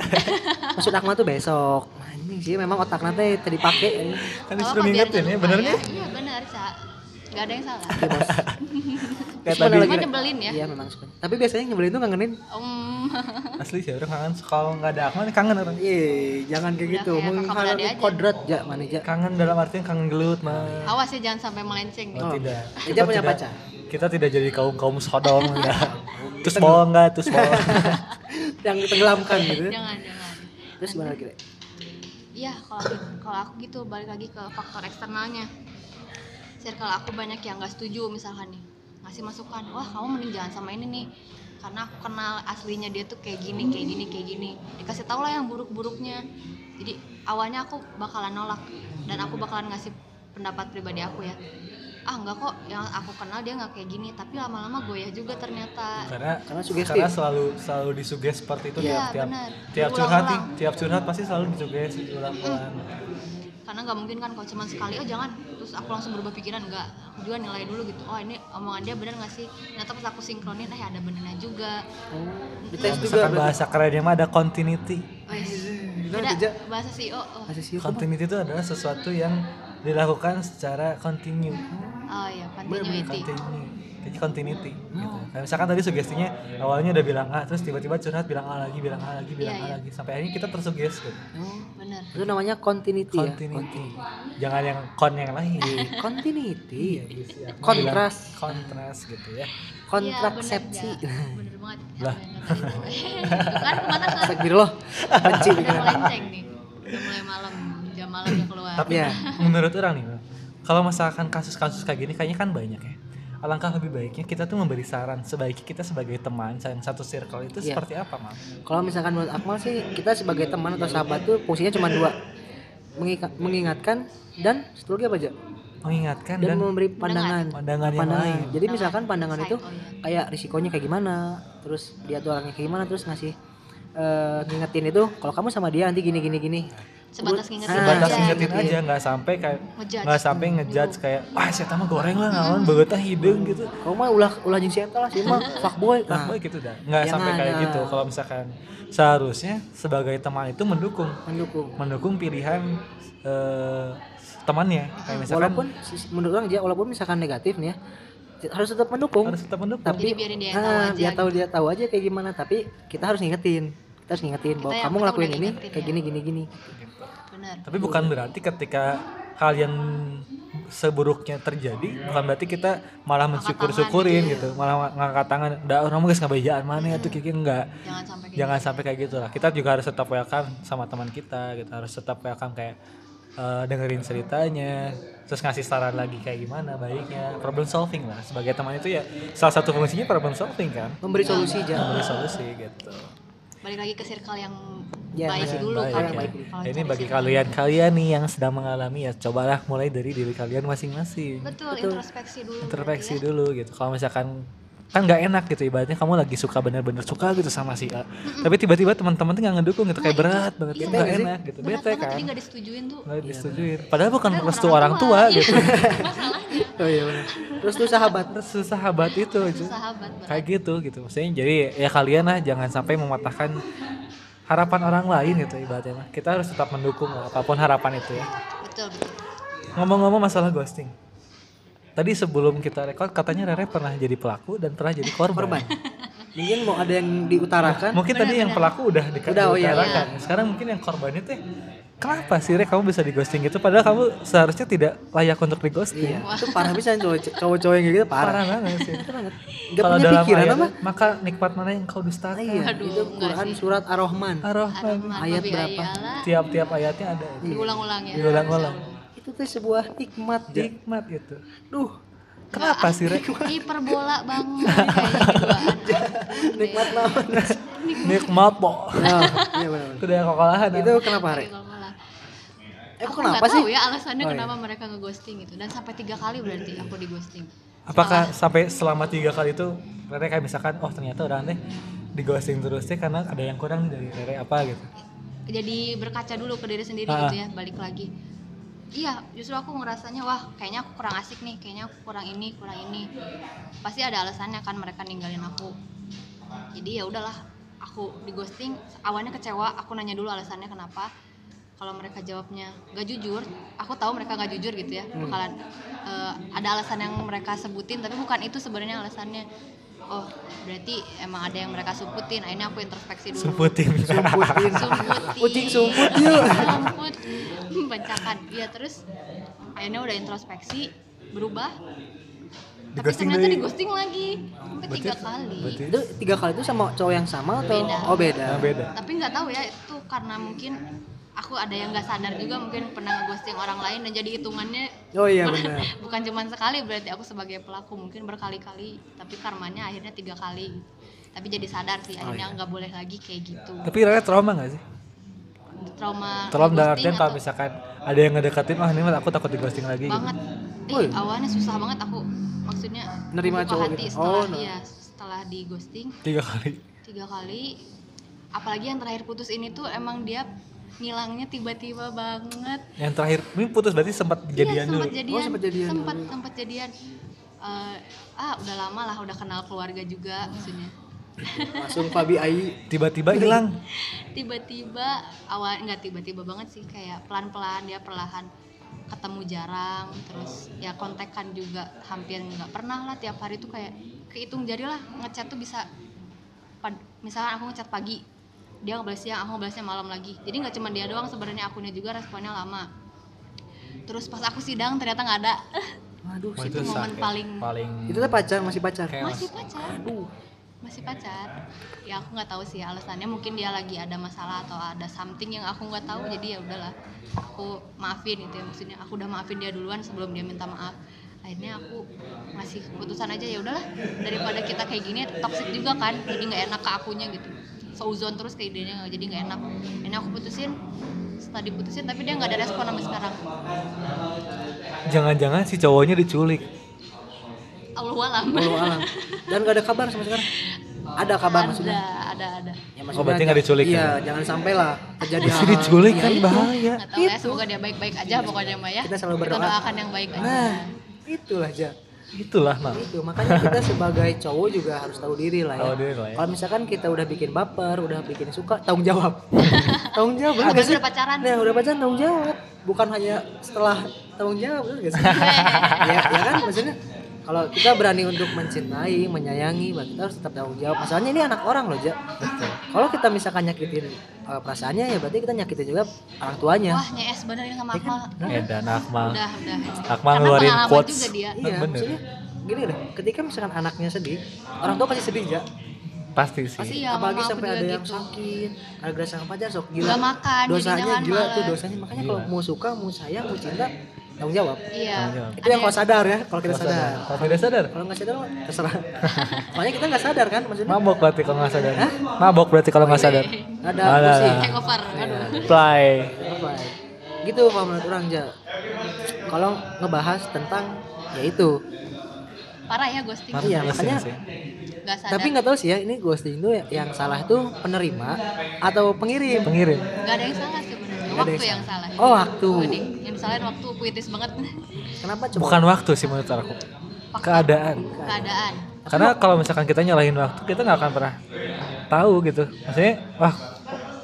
[SPEAKER 2] maksud Akmal tuh besok anjing sih memang otak nanti tadi pakai
[SPEAKER 1] kan disuruh ngingetin ya bener nih
[SPEAKER 3] iya bener sa nggak ada yang salah
[SPEAKER 2] Oke, bos.
[SPEAKER 1] kayak
[SPEAKER 2] Terus mana
[SPEAKER 1] tadi
[SPEAKER 2] lagi?
[SPEAKER 3] cuma nyebelin ya
[SPEAKER 2] Iya memang suka. Tapi biasanya nyebelin tuh ngangenin.
[SPEAKER 3] Om,
[SPEAKER 1] asli sih orang kangen kalau nggak ada Akmal nih kangen orang
[SPEAKER 2] Iya, jangan kayak
[SPEAKER 3] Udah
[SPEAKER 2] gitu.
[SPEAKER 3] kayak kakak
[SPEAKER 2] Menghadapi
[SPEAKER 3] beradik aja.
[SPEAKER 2] kodrat ja mana ja.
[SPEAKER 1] kangen dalam artian kangen gelut mah
[SPEAKER 3] awas ya jangan sampai melenceng
[SPEAKER 1] oh,
[SPEAKER 2] Oh.
[SPEAKER 1] tidak
[SPEAKER 2] Dia punya
[SPEAKER 1] tidak-
[SPEAKER 2] pacar?
[SPEAKER 1] kita tidak jadi kaum kaum sodom ya terus bohong nggak terus bohong
[SPEAKER 2] Yang tenggelamkan gitu.
[SPEAKER 3] jangan jangan
[SPEAKER 2] Terus mana lagi? Le?
[SPEAKER 3] iya kalau kalau aku gitu balik lagi ke faktor eksternalnya circle aku banyak yang nggak setuju misalkan nih ngasih masukan wah kamu mending jangan sama ini nih karena aku kenal aslinya dia tuh kayak gini kayak gini kayak gini dikasih tau lah yang buruk-buruknya jadi awalnya aku bakalan nolak dan aku bakalan ngasih pendapat pribadi aku ya ah nggak kok yang aku kenal dia nggak kayak gini tapi lama-lama goyah juga ternyata
[SPEAKER 1] karena
[SPEAKER 2] Karena sugestif.
[SPEAKER 1] karena selalu selalu disuges seperti itu tiap
[SPEAKER 3] Iya,
[SPEAKER 1] tiap
[SPEAKER 3] benar.
[SPEAKER 1] tiap curhat nih,
[SPEAKER 3] Diulang-ulang. Mm.
[SPEAKER 1] tiap curhat pasti selalu disuges Nah, ulang-ulang
[SPEAKER 3] karena nggak mungkin kan kalau cuma sekali oh jangan terus aku langsung berubah pikiran nggak aku juga nilai dulu gitu oh ini omongan dia benar nggak sih ternyata pas aku sinkronin eh ada benernya juga
[SPEAKER 2] Di
[SPEAKER 1] Kalau
[SPEAKER 2] tes juga. Iya,
[SPEAKER 1] misalkan bahasa kerennya mah ada continuity iya,
[SPEAKER 3] Wes,
[SPEAKER 2] Nah,
[SPEAKER 3] beda
[SPEAKER 2] Ja.
[SPEAKER 3] bahasa CEO oh,
[SPEAKER 2] Masih sih.
[SPEAKER 1] continuity itu adalah sesuatu yang dilakukan secara continue
[SPEAKER 3] oh ya continuity
[SPEAKER 1] continue jadi continuity
[SPEAKER 2] Hmm.
[SPEAKER 1] gitu. Nah, misalkan tadi sugestinya awalnya udah bilang A terus tiba-tiba curhat bilang A lagi bilang A lagi bilang
[SPEAKER 3] Iya,
[SPEAKER 1] A
[SPEAKER 3] iya.
[SPEAKER 1] lagi sampai akhirnya kita tersuges gitu.
[SPEAKER 3] bener
[SPEAKER 2] Oh. Itu namanya continuity ya.
[SPEAKER 1] continuity jangan yang kon yang lain
[SPEAKER 2] Continuity.
[SPEAKER 1] Iya,
[SPEAKER 2] Iya, Kontras.
[SPEAKER 1] bilang kontras gitu ya
[SPEAKER 2] Kontraksepsi.
[SPEAKER 3] Iya, bener, Ja. bener banget
[SPEAKER 1] Lah.
[SPEAKER 3] kan kemana kan
[SPEAKER 2] Astagfirullah. Benci
[SPEAKER 3] udah
[SPEAKER 2] bikin.
[SPEAKER 3] melenceng nih udah mulai malam jam malam udah keluar
[SPEAKER 1] Tapi
[SPEAKER 2] Iya.
[SPEAKER 1] menurut orang nih, kalau misalkan kasus-kasus kayak gini kayaknya kan banyak ya. Alangkah lebih baiknya kita tuh memberi saran sebaiknya kita sebagai teman yang satu circle itu
[SPEAKER 2] Iya.
[SPEAKER 1] seperti apa, Mam?
[SPEAKER 2] Kalau misalkan menurut Akmal sih kita sebagai teman atau sahabat tuh fungsinya cuma dua. Mengika- mengingatkan dan satu lagi apa aja?
[SPEAKER 1] Mengingatkan dan,
[SPEAKER 2] Dan, memberi pandangan.
[SPEAKER 1] pandangan yang
[SPEAKER 2] pandangan.
[SPEAKER 1] lain.
[SPEAKER 2] Jadi misalkan pandangan itu
[SPEAKER 3] Psycho, ya.
[SPEAKER 2] kayak risikonya kayak gimana, terus dia tuh orangnya kayak gimana, terus ngasih eh, ngingetin itu kalau kamu sama dia nanti gini gini gini. Ah, iya.
[SPEAKER 3] sebatas ngingetin
[SPEAKER 1] Sebatas
[SPEAKER 3] aja
[SPEAKER 1] ngingetin
[SPEAKER 3] gitu ya.
[SPEAKER 1] aja, nggak sampai kayak
[SPEAKER 3] Ngejudge.
[SPEAKER 1] nggak sampai ngejudge kayak wah siapa mah goreng lah lawan beutah hidung gitu.
[SPEAKER 2] Kamu mah ulah ulah jeung si eta lah, si mah fuckboy.
[SPEAKER 1] Nah,
[SPEAKER 2] Nah,
[SPEAKER 1] gitu dah. Nggak
[SPEAKER 2] Jangan,
[SPEAKER 1] sampai kayak
[SPEAKER 2] nah.
[SPEAKER 1] gitu kalau misalkan seharusnya sebagai teman itu mendukung
[SPEAKER 2] mendukung.
[SPEAKER 1] mendukung pilihan eh, temannya kayak misalkan
[SPEAKER 2] Walaupun sis- menurut orang dia walaupun misalkan negatif nih ya, harus tetap mendukung.
[SPEAKER 1] harus tetap mendukung
[SPEAKER 2] tapi
[SPEAKER 3] Jadi biarin dia tahu
[SPEAKER 2] ah,
[SPEAKER 3] aja gitu.
[SPEAKER 2] biar tahu dia tahu aja kayak gimana tapi kita harus ngingetin kita harus ngingetin bahwa
[SPEAKER 3] yang-
[SPEAKER 2] kamu
[SPEAKER 3] kita
[SPEAKER 2] ngelakuin
[SPEAKER 3] udah
[SPEAKER 2] ini
[SPEAKER 3] ngingetin
[SPEAKER 2] kayak
[SPEAKER 3] ya.
[SPEAKER 2] gini gini gini
[SPEAKER 1] gitu.
[SPEAKER 3] bener
[SPEAKER 1] Tapi bukan berarti ketika hal yang seburuknya terjadi bukan berarti kita malah mensyukur-syukurin gitu, malah ngangkat tangan, udah orang mah geus ngabejaan mana ya itu kayak enggak.
[SPEAKER 3] jangan sampai kayak
[SPEAKER 1] Jangan sampai kayak gitu lah. Kita juga harus tetap welcome sama teman kita, kita harus tetap welcome kayak eh, dengerin ceritanya, terus ngasih saran lagi kayak gimana baiknya, problem solving lah. Sebagai teman itu ya salah satu fungsinya problem solving kan,
[SPEAKER 3] Iya,
[SPEAKER 2] memberi solusi aja
[SPEAKER 1] memberi solusi gitu.
[SPEAKER 3] balik lagi ke circle yang
[SPEAKER 2] Ya,
[SPEAKER 3] baik
[SPEAKER 2] yang
[SPEAKER 3] dulu
[SPEAKER 1] baik
[SPEAKER 3] kan
[SPEAKER 1] ya.
[SPEAKER 2] baik.
[SPEAKER 3] Kalau
[SPEAKER 1] Ini
[SPEAKER 3] cari
[SPEAKER 1] bagi
[SPEAKER 3] circle-
[SPEAKER 1] kalian-kalian nih yang sedang mengalami ya, cobalah mulai dari diri kalian masing-masing.
[SPEAKER 3] betul, introspeksi dulu ya.
[SPEAKER 1] Introspeksi dulu gitu. Kalau misalkan kan nggak enak gitu ibaratnya kamu lagi suka bener-bener suka gitu sama si A. Tapi tiba-tiba teman-teman tuh nggak ngedukung
[SPEAKER 3] Nah,
[SPEAKER 1] gitu kayak berat banget gitu nggak enak gitu.
[SPEAKER 3] bener
[SPEAKER 1] Bete
[SPEAKER 3] Iya, banget
[SPEAKER 1] kan.
[SPEAKER 3] tadi nggak disetujuin tuh
[SPEAKER 1] Nggak disetujuin. Padahal bukan
[SPEAKER 3] Padahal
[SPEAKER 1] restu orang tua
[SPEAKER 3] Iya,
[SPEAKER 1] gitu.
[SPEAKER 3] masalahnya
[SPEAKER 2] oh iya benar terus tuh sahabat
[SPEAKER 1] Terus sahabat itu gitu.
[SPEAKER 3] sahabat berat
[SPEAKER 1] Kayak gitu gitu. Maksudnya jadi ya kalian lah jangan sampai mematahkan harapan orang lain gitu ibaratnya. mah. Kita harus tetap mendukung lah, apapun harapan itu ya.
[SPEAKER 3] betul betul
[SPEAKER 1] Ngomong-ngomong masalah ghosting. Tadi sebelum kita record katanya Rere pernah jadi pelaku dan pernah jadi korban.
[SPEAKER 2] korban mungkin mau ada yang diutarakan
[SPEAKER 1] Mungkin tadi yang pelaku udah dekat
[SPEAKER 2] Udah, oh iya,
[SPEAKER 1] diutarakan. Sekarang mungkin yang korbannya teh kenapa sih Rek kamu bisa di ghosting gitu padahal kamu seharusnya tidak layak untuk di ghosting
[SPEAKER 2] Iya, itu parah bisa cowok- cowok-cowok yang kayak gitu parah.
[SPEAKER 1] parah banget sih
[SPEAKER 2] banget. Gak
[SPEAKER 1] kalau
[SPEAKER 2] punya
[SPEAKER 1] dalam
[SPEAKER 2] pikiran
[SPEAKER 1] ayat,
[SPEAKER 2] apa?
[SPEAKER 1] maka nikmat mana yang kau dustakan
[SPEAKER 2] Iya,
[SPEAKER 3] Aduh,
[SPEAKER 2] itu
[SPEAKER 3] enggak
[SPEAKER 2] Quran
[SPEAKER 3] sih.
[SPEAKER 2] surat Ar-Rahman.
[SPEAKER 1] Ar-Rahman
[SPEAKER 3] Ar-Rahman,
[SPEAKER 2] Ayat
[SPEAKER 3] Wabi
[SPEAKER 2] berapa?
[SPEAKER 3] Ayala.
[SPEAKER 1] tiap-tiap ayatnya ada itu
[SPEAKER 2] Iya.
[SPEAKER 3] Diulang-ulang ya.
[SPEAKER 1] diulang-ulang
[SPEAKER 2] Itu tuh sebuah nikmat. Ja.
[SPEAKER 1] nikmat itu
[SPEAKER 2] Duh,
[SPEAKER 1] kenapa
[SPEAKER 2] ah,
[SPEAKER 1] sih Rek
[SPEAKER 3] Hiperbola banget kayaknya keduaan.
[SPEAKER 2] nikmat
[SPEAKER 3] Iya.
[SPEAKER 2] lawan.
[SPEAKER 1] nikmat po
[SPEAKER 2] Nah, iya benar.
[SPEAKER 1] itu dari kekalahan
[SPEAKER 2] Itu kenapa, Re? Eh,
[SPEAKER 3] Hiperbola.
[SPEAKER 2] kok
[SPEAKER 3] Aku
[SPEAKER 2] kenapa
[SPEAKER 3] nggak
[SPEAKER 2] sih?
[SPEAKER 3] tahu ya alasannya
[SPEAKER 2] Oh, iya.
[SPEAKER 3] kenapa mereka ngeghosting gitu dan sampai tiga kali berarti aku di ghosting.
[SPEAKER 1] apakah
[SPEAKER 3] Nah.
[SPEAKER 1] sampai selama tiga kali itu Rere kayak misalkan oh ternyata orang teh di ghosting terus sih karena ada yang kurang nih dari Rere apa gitu
[SPEAKER 3] jadi berkaca dulu ke diri sendiri
[SPEAKER 1] Ah.
[SPEAKER 3] gitu ya balik lagi iya justru aku ngerasanya wah kayaknya aku kurang asik nih kayaknya aku kurang ini kurang ini pasti ada alasannya kan mereka ninggalin aku jadi ya udahlah aku di ghosting awalnya kecewa aku nanya dulu alasannya kenapa kalau mereka jawabnya gak jujur aku tahu mereka gak jujur gitu ya bakalan eh, ada alasan yang mereka sebutin tapi bukan itu sebenarnya alasannya oh berarti emang ada yang mereka sumputin akhirnya aku introspeksi dulu
[SPEAKER 1] sumputin
[SPEAKER 2] Sumputin.
[SPEAKER 3] Sumputi.
[SPEAKER 2] Kucing sumput yuk.
[SPEAKER 3] Sumput. Bancakan. Iya terus akhirnya udah introspeksi berubah. Tapi
[SPEAKER 1] Di-ghosting
[SPEAKER 3] ternyata
[SPEAKER 1] lagi.
[SPEAKER 3] di ghosting lagi sampai
[SPEAKER 1] Berarti-
[SPEAKER 3] tiga kali.
[SPEAKER 1] berarti
[SPEAKER 2] Itu tiga kali itu sama cowok yang sama atau
[SPEAKER 3] Beda.
[SPEAKER 2] oh beda?
[SPEAKER 1] nah, beda
[SPEAKER 3] Tapi nggak tahu ya itu karena mungkin aku ada yang nggak sadar juga mungkin pernah ghosting orang lain dan jadi hitungannya
[SPEAKER 2] Oh iya benar.
[SPEAKER 3] bukan cuman sekali berarti aku sebagai pelaku mungkin berkali-kali tapi karmanya akhirnya tiga kali tapi jadi sadar sih akhirnya nggak boleh lagi kayak gitu
[SPEAKER 1] tapi Rere trauma gak sih
[SPEAKER 3] trauma
[SPEAKER 1] trauma dalam
[SPEAKER 3] ghosting
[SPEAKER 1] artian kalau
[SPEAKER 3] atau-
[SPEAKER 1] misalkan ada yang ngedekatin wah ini mah aku takut di ghosting lagi gitu.
[SPEAKER 3] banget.
[SPEAKER 2] Iya, Woi.
[SPEAKER 3] Eh, awalnya susah banget aku maksudnya
[SPEAKER 2] Nerima
[SPEAKER 3] membuka
[SPEAKER 2] cowok
[SPEAKER 3] hati
[SPEAKER 2] gitu.
[SPEAKER 3] setelah
[SPEAKER 2] Oh, nah.
[SPEAKER 3] iya, setelah di ghosting
[SPEAKER 1] tiga kali
[SPEAKER 3] tiga kali apalagi yang terakhir putus ini tuh emang dia ngilangnya tiba-tiba banget
[SPEAKER 1] yang terakhir ini putus berarti sempat
[SPEAKER 3] iya,
[SPEAKER 1] jadian dulu
[SPEAKER 3] sempat jadian,
[SPEAKER 2] Oh, sempat jadian
[SPEAKER 3] sempat sempat jadian Eh, ah udah lama lah udah kenal keluarga juga maksudnya
[SPEAKER 2] Langsung Fabi Ai
[SPEAKER 1] tiba-tiba hilang
[SPEAKER 3] tiba-tiba awal nggak tiba-tiba banget sih kayak pelan-pelan dia perlahan ketemu jarang terus ya kontekan juga hampir nggak pernah lah tiap hari tuh kayak kehitung jari lah ngechat tuh bisa pad- misalkan aku ngechat pagi dia ngebalas siang aku ngebalasnya malam lagi jadi nggak cuma dia doang sebenarnya akunya juga responnya lama terus pas aku sidang ternyata nggak ada
[SPEAKER 2] Waduh,
[SPEAKER 1] Wah,
[SPEAKER 2] sih.
[SPEAKER 3] itu momen paling
[SPEAKER 1] paling
[SPEAKER 2] Itu kan- tuh pacar, masih pacar.
[SPEAKER 1] chaos.
[SPEAKER 3] masih pacar
[SPEAKER 2] Aduh.
[SPEAKER 3] masih pacar ya aku nggak tahu sih alasannya mungkin dia lagi ada masalah atau ada something yang aku nggak tahu jadi ya udahlah aku maafin itu ya maksudnya aku udah maafin dia duluan sebelum dia minta maaf akhirnya aku ngasih keputusan aja ya udahlah daripada kita kayak gini toxic juga kan jadi nggak enak ke akunya gitu seuzon terus ke idenya jadi nggak enak ini aku putusin setelah diputusin tapi dia nggak ada respon sampai sekarang
[SPEAKER 1] jangan-jangan si cowoknya diculik
[SPEAKER 3] Allah alam
[SPEAKER 2] Walau alam. Dan gak ada kabar sama sekarang. Ada kabar
[SPEAKER 3] ada
[SPEAKER 2] maksudnya.
[SPEAKER 3] ada ada
[SPEAKER 2] Ya,
[SPEAKER 1] Oh, berarti nggak diculik
[SPEAKER 2] Iya,
[SPEAKER 1] ya?
[SPEAKER 2] jangan sampai lah terjadi
[SPEAKER 1] Bisa
[SPEAKER 2] hal-hal.
[SPEAKER 1] diculik
[SPEAKER 2] Iya,
[SPEAKER 1] kan
[SPEAKER 2] itu.
[SPEAKER 1] bahaya.
[SPEAKER 3] nggak tahu ya semoga dia baik-baik aja pokoknya mbak ya
[SPEAKER 2] gitu. Kita selalu berdoa.
[SPEAKER 3] doakan yang baik aja
[SPEAKER 2] Nah, itulah aja.
[SPEAKER 1] Itulah mah.
[SPEAKER 2] Itu makanya kita sebagai cowok juga harus tahu diri lah ya.
[SPEAKER 1] Tahu diri lah ya.
[SPEAKER 2] Kalau misalkan kita udah bikin baper, udah bikin suka, tanggung jawab. tanggung jawab. bener
[SPEAKER 3] Apalagi
[SPEAKER 2] nggak sih?
[SPEAKER 3] udah pacaran.
[SPEAKER 2] Nah, udah pacaran tanggung jawab. Bukan hanya setelah tanggung jawab, bener nggak sih?
[SPEAKER 3] Iya.
[SPEAKER 2] ya, ya kan maksudnya kalau kita berani untuk mencintai, menyayangi, berarti kita harus tetap tanggung jawab. Masalahnya ini anak orang loh, Ja. Kalau kita misalkan nyakitin eh, perasaannya ya berarti kita nyakitin juga orang tuanya.
[SPEAKER 3] wah nyes bener ini
[SPEAKER 2] Ya kan?
[SPEAKER 3] sama Akmal
[SPEAKER 1] Edan Eh, Akmal.
[SPEAKER 3] udah udah
[SPEAKER 1] Akmal
[SPEAKER 3] Karena
[SPEAKER 1] ngeluarin
[SPEAKER 3] pengalaman
[SPEAKER 1] quotes.
[SPEAKER 3] juga dia.
[SPEAKER 2] Iya,
[SPEAKER 1] Bener.
[SPEAKER 2] maksudnya gini deh, ketika misalkan anaknya sedih, orang tua pasti sedih, Ja.
[SPEAKER 1] Pasti sih.
[SPEAKER 3] pasti ya
[SPEAKER 2] apalagi
[SPEAKER 3] mama aku
[SPEAKER 2] sampai
[SPEAKER 3] juga
[SPEAKER 2] ada yang
[SPEAKER 3] gitu
[SPEAKER 2] sakit ada gara sama pacar sok gila
[SPEAKER 3] Nggak makan, jadi
[SPEAKER 2] dosanya
[SPEAKER 3] jangan
[SPEAKER 2] gila tuh
[SPEAKER 3] malas.
[SPEAKER 2] dosanya makanya
[SPEAKER 1] Gila.
[SPEAKER 2] kalau mau suka mau sayang mau cinta tanggung jawab
[SPEAKER 3] iya
[SPEAKER 1] Tanggung jawab.
[SPEAKER 2] itu yang kalau sadar ya kalau kita
[SPEAKER 1] Kalau
[SPEAKER 2] sadar
[SPEAKER 1] sadar. Kalau tidak sadar,
[SPEAKER 2] kalau nggak sadar mah terserah makanya kita nggak sadar kan maksudnya
[SPEAKER 1] mabok berarti kalau nggak sadar. Mabok berarti kalau nggak sadar.
[SPEAKER 2] ada
[SPEAKER 1] Ada
[SPEAKER 2] kursi
[SPEAKER 1] lah.
[SPEAKER 3] hangover
[SPEAKER 2] Iya.
[SPEAKER 3] aduh
[SPEAKER 1] Play.
[SPEAKER 2] Apa ya? gitu kalau menurut orang aja kalau ngebahas tentang ya itu
[SPEAKER 3] parah ya ghosting
[SPEAKER 2] Parah. Iya,
[SPEAKER 1] Ghosting
[SPEAKER 2] makanya-
[SPEAKER 1] sih.
[SPEAKER 3] nggak sadar
[SPEAKER 2] tapi nggak tahu sih ya ini ghosting itu yang salah tuh penerima atau pengirim
[SPEAKER 3] Iya.
[SPEAKER 1] Pengirim.
[SPEAKER 3] nggak ada yang salah sebenarnya
[SPEAKER 2] Nggak ada
[SPEAKER 3] waktu
[SPEAKER 2] yang
[SPEAKER 3] yang salah
[SPEAKER 2] oh waktu Iya.
[SPEAKER 3] Wedding. yang disalahin waktu puitis banget
[SPEAKER 2] kenapa coba
[SPEAKER 1] Bukan waktu sih menurut aku.
[SPEAKER 3] Fakta.
[SPEAKER 1] Keadaan.
[SPEAKER 3] keadaan
[SPEAKER 1] Karena kalau misalkan kita nyalahin waktu, kita nggak akan pernah tahu gitu. Maksudnya, wah,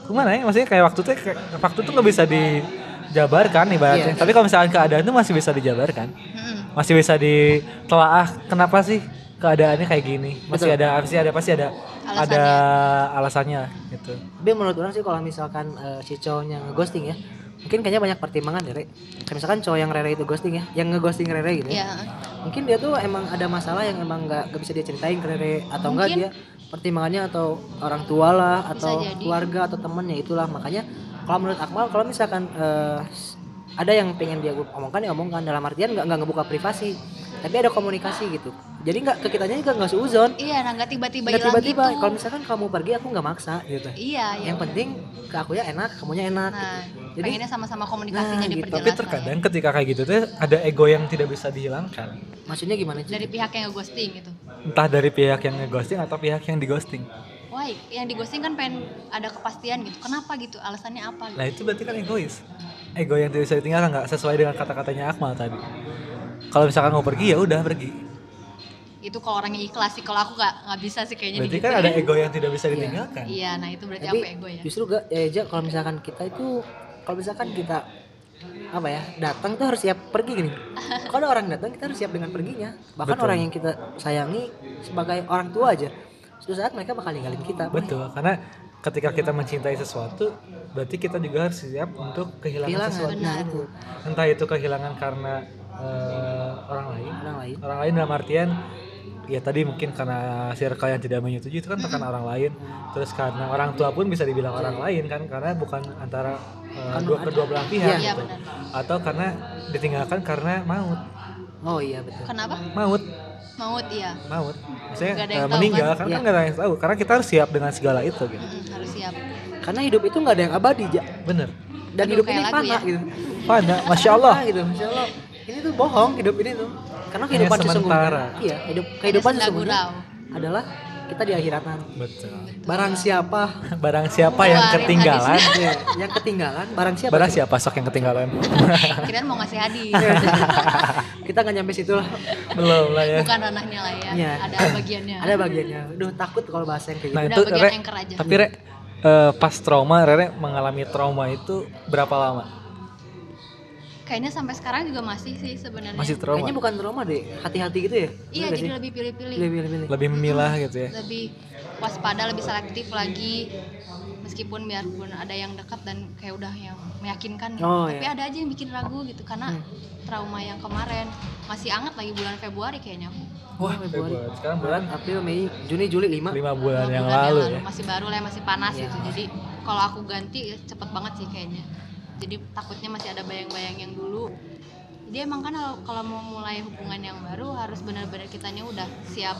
[SPEAKER 1] gimana ya? Maksudnya kayak waktu tuh, kayak, waktu tuh nggak bisa dijabarkan ibaratnya.
[SPEAKER 2] Iya.
[SPEAKER 1] Tapi kalau misalkan keadaan tuh masih bisa dijabarkan.
[SPEAKER 3] Mm-mm.
[SPEAKER 1] masih bisa ditelaah kenapa sih keadaannya kayak gini masih
[SPEAKER 2] Betul.
[SPEAKER 1] ada pasti ada pasti ada
[SPEAKER 3] Alasannya.
[SPEAKER 1] ada alasannya lah, gitu
[SPEAKER 2] Tapi menurut orang sih kalau misalkan eh, si cowoknya ngeghosting ya, mungkin kayaknya banyak pertimbangan ya, Re. Kayak misalkan cowok yang Rere itu ghosting ya, yang ngeghosting Rere gitu ya.
[SPEAKER 3] ya
[SPEAKER 2] Mungkin dia tuh emang ada masalah yang emang nggak nggak bisa dia ceritain ke Rere atau enggak dia
[SPEAKER 3] Mungkin.
[SPEAKER 2] pertimbangannya atau orang tua lah atau
[SPEAKER 3] jadi.
[SPEAKER 2] keluarga atau temennya itulah makanya kalau menurut Akmal kalau misalkan eh, ada yang pengen dia omongkan ya omongkan dalam artian nggak nggak ngebuka privasi tapi ada komunikasi gitu jadi nggak ke kitanya juga nggak seuzon
[SPEAKER 3] iya nah nggak tiba-tiba
[SPEAKER 2] nggak
[SPEAKER 3] hilang
[SPEAKER 2] tiba-tiba
[SPEAKER 3] gitu
[SPEAKER 2] kalau misalkan kamu pergi aku nggak maksa gitu
[SPEAKER 3] iya ya
[SPEAKER 2] yang penting ke aku ya enak kamunya enak
[SPEAKER 3] nah
[SPEAKER 2] Jadi-
[SPEAKER 3] pengennya sama-sama komunikasinya
[SPEAKER 2] Nah, gitu.
[SPEAKER 3] diperjelas
[SPEAKER 1] Tapi
[SPEAKER 2] Tapi
[SPEAKER 3] lah ya.
[SPEAKER 1] terkadang ketika kayak gitu tuh ada ego yang tidak bisa dihilangkan.
[SPEAKER 2] maksudnya gimana sih
[SPEAKER 3] dari pihak yang ngeghosting gitu
[SPEAKER 1] Entah dari pihak yang ngeghosting atau pihak yang dighosting.
[SPEAKER 3] why yang dighosting kan pengen ada kepastian gitu kenapa gitu alasannya apa gitu.
[SPEAKER 1] Nah itu berarti kan egois. Ego yang tidak bisa ditinggalkan nggak sesuai dengan kata-katanya Akmal tadi. Kalau misalkan mau pergi ya udah pergi.
[SPEAKER 3] itu kalau orangnya ikhlas sih kalau aku nggak nggak bisa sih kayaknya
[SPEAKER 1] Berarti
[SPEAKER 3] digituin.
[SPEAKER 1] kan ada ego yang tidak bisa ditinggalkan.
[SPEAKER 3] gitu ya. iya nah itu berarti
[SPEAKER 2] tapi
[SPEAKER 3] aku ego ya
[SPEAKER 2] justru gak ya aja kalau misalkan kita itu kalau misalkan kita apa ya datang tuh harus siap pergi gini kalau ada orang datang kita harus siap dengan perginya bahkan
[SPEAKER 1] Betul.
[SPEAKER 2] orang yang kita sayangi sebagai orang tua aja suatu saat mereka bakal ninggalin kita Boy.
[SPEAKER 1] Betul. Karena ketika kita mencintai sesuatu, berarti kita juga harus siap untuk kehilangan,
[SPEAKER 2] kehilangan
[SPEAKER 1] sesuatu.
[SPEAKER 2] nah
[SPEAKER 3] Benar.
[SPEAKER 2] itu
[SPEAKER 1] Entah itu kehilangan karena eh, orang lain,
[SPEAKER 2] orang lain
[SPEAKER 1] orang lain dalam artian ya tadi mungkin karena circle yang tidak menyetujui itu kan tekanan orang lain terus karena orang tua pun bisa dibilang
[SPEAKER 3] Iya.
[SPEAKER 1] orang lain kan karena bukan antara eh,
[SPEAKER 2] Kan
[SPEAKER 1] dua
[SPEAKER 2] ada-
[SPEAKER 1] kedua belah pihak
[SPEAKER 2] Iya.
[SPEAKER 3] iya
[SPEAKER 1] gitu.
[SPEAKER 3] benar
[SPEAKER 1] atau karena ditinggalkan karena maut
[SPEAKER 2] oh iya betul
[SPEAKER 3] kenapa
[SPEAKER 1] maut
[SPEAKER 3] maut iya
[SPEAKER 1] maut maksudnya
[SPEAKER 3] Nggak ada
[SPEAKER 1] eh,
[SPEAKER 3] yang tahu,
[SPEAKER 1] meninggal
[SPEAKER 3] kan?
[SPEAKER 1] kan
[SPEAKER 2] Iya.
[SPEAKER 1] kan nggak ada yang tahu karena kita harus siap dengan segala itu gitu
[SPEAKER 3] Mm-mm, harus siap
[SPEAKER 2] karena hidup itu nggak ada yang abadi Ja.
[SPEAKER 1] bener
[SPEAKER 2] dan
[SPEAKER 3] Aduh,
[SPEAKER 2] hidup
[SPEAKER 3] kayak
[SPEAKER 2] ini
[SPEAKER 3] lagu
[SPEAKER 2] fana
[SPEAKER 3] ya.
[SPEAKER 2] gitu
[SPEAKER 1] Fana, masya Allah
[SPEAKER 2] Fana gitu masya Allah ini tuh bohong hidup ini tuh karena kehidupan
[SPEAKER 1] sementara.
[SPEAKER 2] sesungguhnya iya hidup kehidupan
[SPEAKER 3] Ada senda
[SPEAKER 2] sesungguhnya
[SPEAKER 3] gurau.
[SPEAKER 2] adalah kita di akhirat nanti
[SPEAKER 1] betul
[SPEAKER 2] barang siapa
[SPEAKER 1] barang siapa yang
[SPEAKER 3] Keluarin
[SPEAKER 1] ketinggalan
[SPEAKER 2] Iya, yang ketinggalan barang siapa?
[SPEAKER 1] barang siapa sok yang ketinggalan
[SPEAKER 3] kirain mau ngasih hadis
[SPEAKER 2] Kita nggak nyampe situ lah.
[SPEAKER 1] belum lah ya
[SPEAKER 3] bukan ranahnya lah ya
[SPEAKER 2] Iya.
[SPEAKER 3] ada bagiannya
[SPEAKER 2] Ada bagiannya. Aduh, takut kalau bahasa yang kayak
[SPEAKER 1] Nah
[SPEAKER 2] gitu.
[SPEAKER 3] Udah
[SPEAKER 1] itu
[SPEAKER 3] bagian
[SPEAKER 1] Rere,
[SPEAKER 3] anchor aja.
[SPEAKER 1] tapi Rere eh, pas trauma Rere mengalami trauma itu berapa lama?
[SPEAKER 3] kayaknya sampai sekarang juga masih sih sebenarnya
[SPEAKER 1] Masih
[SPEAKER 2] Kayaknya
[SPEAKER 1] trauma?
[SPEAKER 2] bukan trauma deh. Hati-hati gitu ya.
[SPEAKER 3] iya
[SPEAKER 2] Bener nggak
[SPEAKER 3] jadi
[SPEAKER 2] sih?
[SPEAKER 3] lebih pilih-pilih
[SPEAKER 2] lebih lebih. lebih.
[SPEAKER 1] Lebih memilah gitu ya?
[SPEAKER 3] lebih waspada lebih selektif lagi meskipun biarpun ada yang dekat dan kayak udah yang meyakinkan gitu.
[SPEAKER 2] Oh,
[SPEAKER 3] tapi
[SPEAKER 2] iya.
[SPEAKER 3] ada aja yang bikin ragu gitu karena
[SPEAKER 1] Hmm.
[SPEAKER 3] trauma yang kemarin masih anget lagi bulan Februari kayaknya aku
[SPEAKER 1] Wah Februari. Sekarang bulan
[SPEAKER 2] April, Mei, Juni, Juli 5.
[SPEAKER 1] 5 bulan
[SPEAKER 3] Dua
[SPEAKER 1] yang lalu ya?
[SPEAKER 3] masih baru lah masih panas
[SPEAKER 2] Iya.
[SPEAKER 3] gitu jadi kalau aku ganti ya cepet banget sih kayaknya jadi takutnya masih ada bayang-bayang yang dulu jadi emang kan kalau- kalau mau mulai hubungan yang baru harus benar-benar kitanya udah siap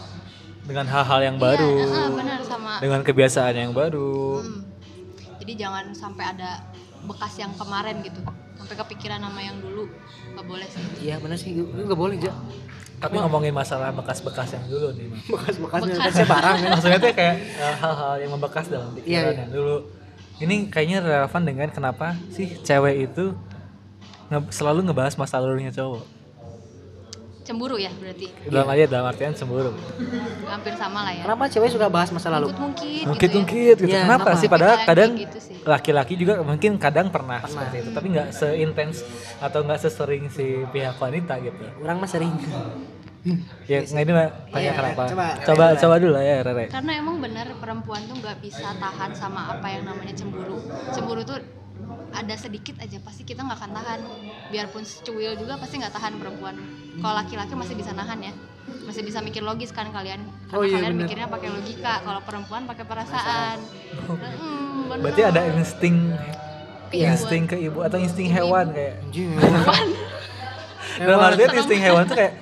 [SPEAKER 1] Dengan hal-hal yang baru
[SPEAKER 3] iya eh, eh, benar sama
[SPEAKER 1] Dengan kebiasaan yang baru
[SPEAKER 3] Hmm. Jadi jangan sampai ada bekas yang kemarin gitu. Sampai kepikiran sama yang dulu. Gak boleh sih.
[SPEAKER 2] Iya benar sih, itu nggak boleh aja.
[SPEAKER 1] Tapi ngomongin masalah bekas-bekas yang dulu nih Mas.
[SPEAKER 2] Bekas-bekasnya
[SPEAKER 3] Bekas.
[SPEAKER 2] bekasnya barang.
[SPEAKER 1] Maksudnya tuh kayak eh, hal-hal yang membekas dalam pikiran
[SPEAKER 2] Iya, iya.
[SPEAKER 1] yang dulu Ini kayaknya relevan dengan kenapa sih cewek itu nge- selalu ngebahas masa lalunya cowok
[SPEAKER 3] Cemburu ya berarti.
[SPEAKER 1] dalam aja dalam artian cemburu
[SPEAKER 3] Hampir sama lah ya.
[SPEAKER 2] Kenapa cewek suka bahas masa lalu?
[SPEAKER 3] Mungkin
[SPEAKER 1] mungkin
[SPEAKER 3] gitu ya.
[SPEAKER 1] mungkin gitu.
[SPEAKER 2] Iya,
[SPEAKER 1] kenapa
[SPEAKER 2] kenapa?
[SPEAKER 1] sih padahal
[SPEAKER 3] Pikiran
[SPEAKER 1] kadang
[SPEAKER 3] kayak gitu sih.
[SPEAKER 1] laki-laki juga mungkin kadang pernah,
[SPEAKER 2] Pernah.
[SPEAKER 1] seperti itu tapi nggak seintens atau nggak sesering si pihak wanita gitu
[SPEAKER 2] Orang mah sering.
[SPEAKER 1] ya nggak ini mah tanya
[SPEAKER 2] Iya,
[SPEAKER 1] kenapa
[SPEAKER 2] coba.
[SPEAKER 1] coba
[SPEAKER 2] Coba.
[SPEAKER 1] coba dulu lah ya Rere
[SPEAKER 3] Karena emang benar perempuan tuh nggak bisa tahan sama apa yang namanya cemburu. Cemburu tuh ada sedikit aja pasti kita nggak akan tahan. Biarpun secuil juga pasti nggak tahan perempuan. Kalau laki-laki masih bisa nahan ya. Masih bisa mikir logis kan kalian. Karena
[SPEAKER 2] Oh iya,
[SPEAKER 3] kalian
[SPEAKER 2] benar.
[SPEAKER 3] mikirnya pakai logika, kalau perempuan pakai perasaan. Mm, bener.
[SPEAKER 1] berarti ada insting
[SPEAKER 3] Iya.
[SPEAKER 1] insting ke ibu atau insting
[SPEAKER 3] Ibu-ibu.
[SPEAKER 1] hewan kayak
[SPEAKER 2] Anjing.
[SPEAKER 1] dalam
[SPEAKER 2] Hewan.
[SPEAKER 1] artian insting hewan tuh kayak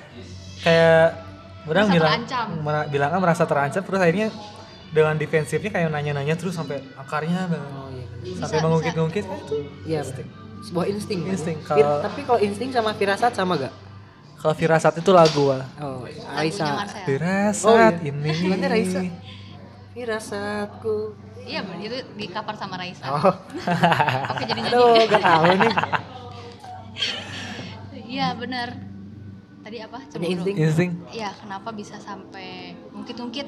[SPEAKER 1] kayak orang
[SPEAKER 3] Merasa
[SPEAKER 1] bilang
[SPEAKER 3] terancam.
[SPEAKER 1] mera- bilangnya merasa terancam terus akhirnya dengan defensifnya kayak nanya-nanya terus sampai akarnya banget.
[SPEAKER 2] Oh iya. bener.
[SPEAKER 1] sampai
[SPEAKER 3] Bisa,
[SPEAKER 1] mengungkit-ungkit eh, itu
[SPEAKER 2] Iya. bener. Sebuah insting. kan?
[SPEAKER 1] Insting,
[SPEAKER 2] Fir-
[SPEAKER 1] kalau-
[SPEAKER 2] Tapi kalau insting sama firasat sama gak?
[SPEAKER 1] kalau firasat itu lagu ah
[SPEAKER 2] Oh,
[SPEAKER 3] Lagunya
[SPEAKER 2] Raisa.
[SPEAKER 3] Marcel.
[SPEAKER 1] Firasat
[SPEAKER 2] Oh, iya.
[SPEAKER 1] ini.
[SPEAKER 2] Bukannya Raisa. Firasatku.
[SPEAKER 3] Iya bener, itu di cover sama Raisa.
[SPEAKER 2] Oh.
[SPEAKER 3] Oke jadi
[SPEAKER 2] Aduh,
[SPEAKER 3] nyanyi.
[SPEAKER 2] gak tahu nih.
[SPEAKER 3] Iya bener. Tadi apa?
[SPEAKER 2] Punya
[SPEAKER 3] Cemburu.
[SPEAKER 2] insting.
[SPEAKER 1] Insting.
[SPEAKER 3] Iya kenapa bisa sampai mungkit-mungkit?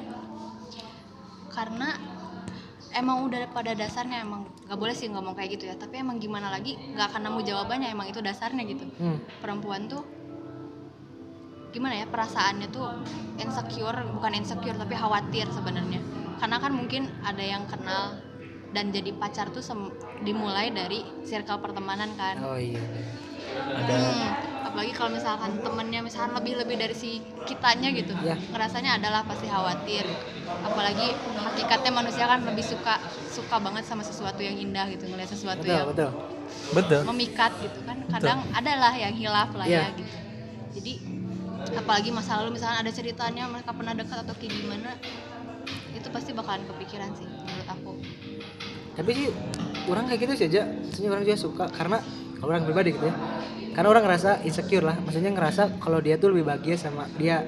[SPEAKER 3] Karena emang udah pada dasarnya emang nggak boleh sih ngomong kayak gitu ya. Tapi emang gimana lagi nggak akan nemu jawabannya emang itu dasarnya gitu.
[SPEAKER 2] Hmm.
[SPEAKER 3] Perempuan tuh gimana ya perasaannya tuh insecure bukan insecure tapi khawatir sebenarnya karena kan mungkin ada yang kenal dan jadi pacar tuh sem- dimulai dari circle pertemanan kan
[SPEAKER 2] oh iya
[SPEAKER 1] ada
[SPEAKER 3] Hmm, apalagi kalau misalkan temennya misalkan lebih lebih dari si kitanya gitu
[SPEAKER 2] Ya.
[SPEAKER 3] ngerasanya adalah pasti khawatir apalagi hakikatnya manusia kan lebih suka suka banget sama sesuatu yang indah gitu ngelihat sesuatu
[SPEAKER 2] betul
[SPEAKER 3] yang
[SPEAKER 2] betul
[SPEAKER 1] betul
[SPEAKER 3] memikat gitu kan kadang adalah yang hilaf lah
[SPEAKER 2] Iya.
[SPEAKER 3] ya gitu jadi apalagi masa lalu misalkan ada ceritanya mereka pernah dekat atau kayak gimana itu pasti bakalan kepikiran sih menurut aku
[SPEAKER 2] tapi sih orang kayak gitu sih aja maksudnya orang juga suka karena kalau orang pribadi gitu ya karena orang ngerasa insecure lah maksudnya ngerasa kalau dia tuh lebih bahagia sama dia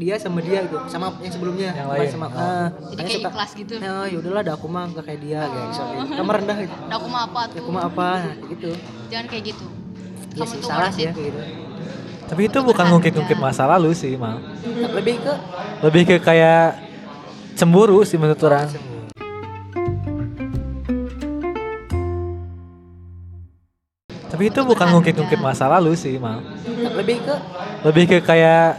[SPEAKER 2] dia sama dia gitu sama yang sebelumnya
[SPEAKER 1] Yang
[SPEAKER 2] bukan
[SPEAKER 1] lain.
[SPEAKER 2] sama
[SPEAKER 1] Oh.
[SPEAKER 2] ah,
[SPEAKER 3] jadi
[SPEAKER 2] makanya
[SPEAKER 3] kayak
[SPEAKER 2] suka
[SPEAKER 3] ikhlas gitu Oh.
[SPEAKER 2] nah yaudahlah dah aku mah gak kayak dia kayak misalnya gitu. kamu rendah gitu
[SPEAKER 3] "Dah, aku mah apa tuh
[SPEAKER 2] aku mah apa nah, kayak gitu
[SPEAKER 3] jangan kayak gitu
[SPEAKER 2] ya
[SPEAKER 3] kamu
[SPEAKER 2] sih
[SPEAKER 3] tuh
[SPEAKER 2] salah
[SPEAKER 3] worth
[SPEAKER 2] sih ya
[SPEAKER 3] it."
[SPEAKER 2] kayak gitu
[SPEAKER 1] tapi itu bukan ngungkit-ngungkit masa lalu sih mal
[SPEAKER 2] lebih ke
[SPEAKER 1] lebih ke kayak cemburu sih menurut orang tapi itu bukan ngungkit-ngungkit masa lalu sih mal
[SPEAKER 2] lebih ke
[SPEAKER 1] lebih ke kayak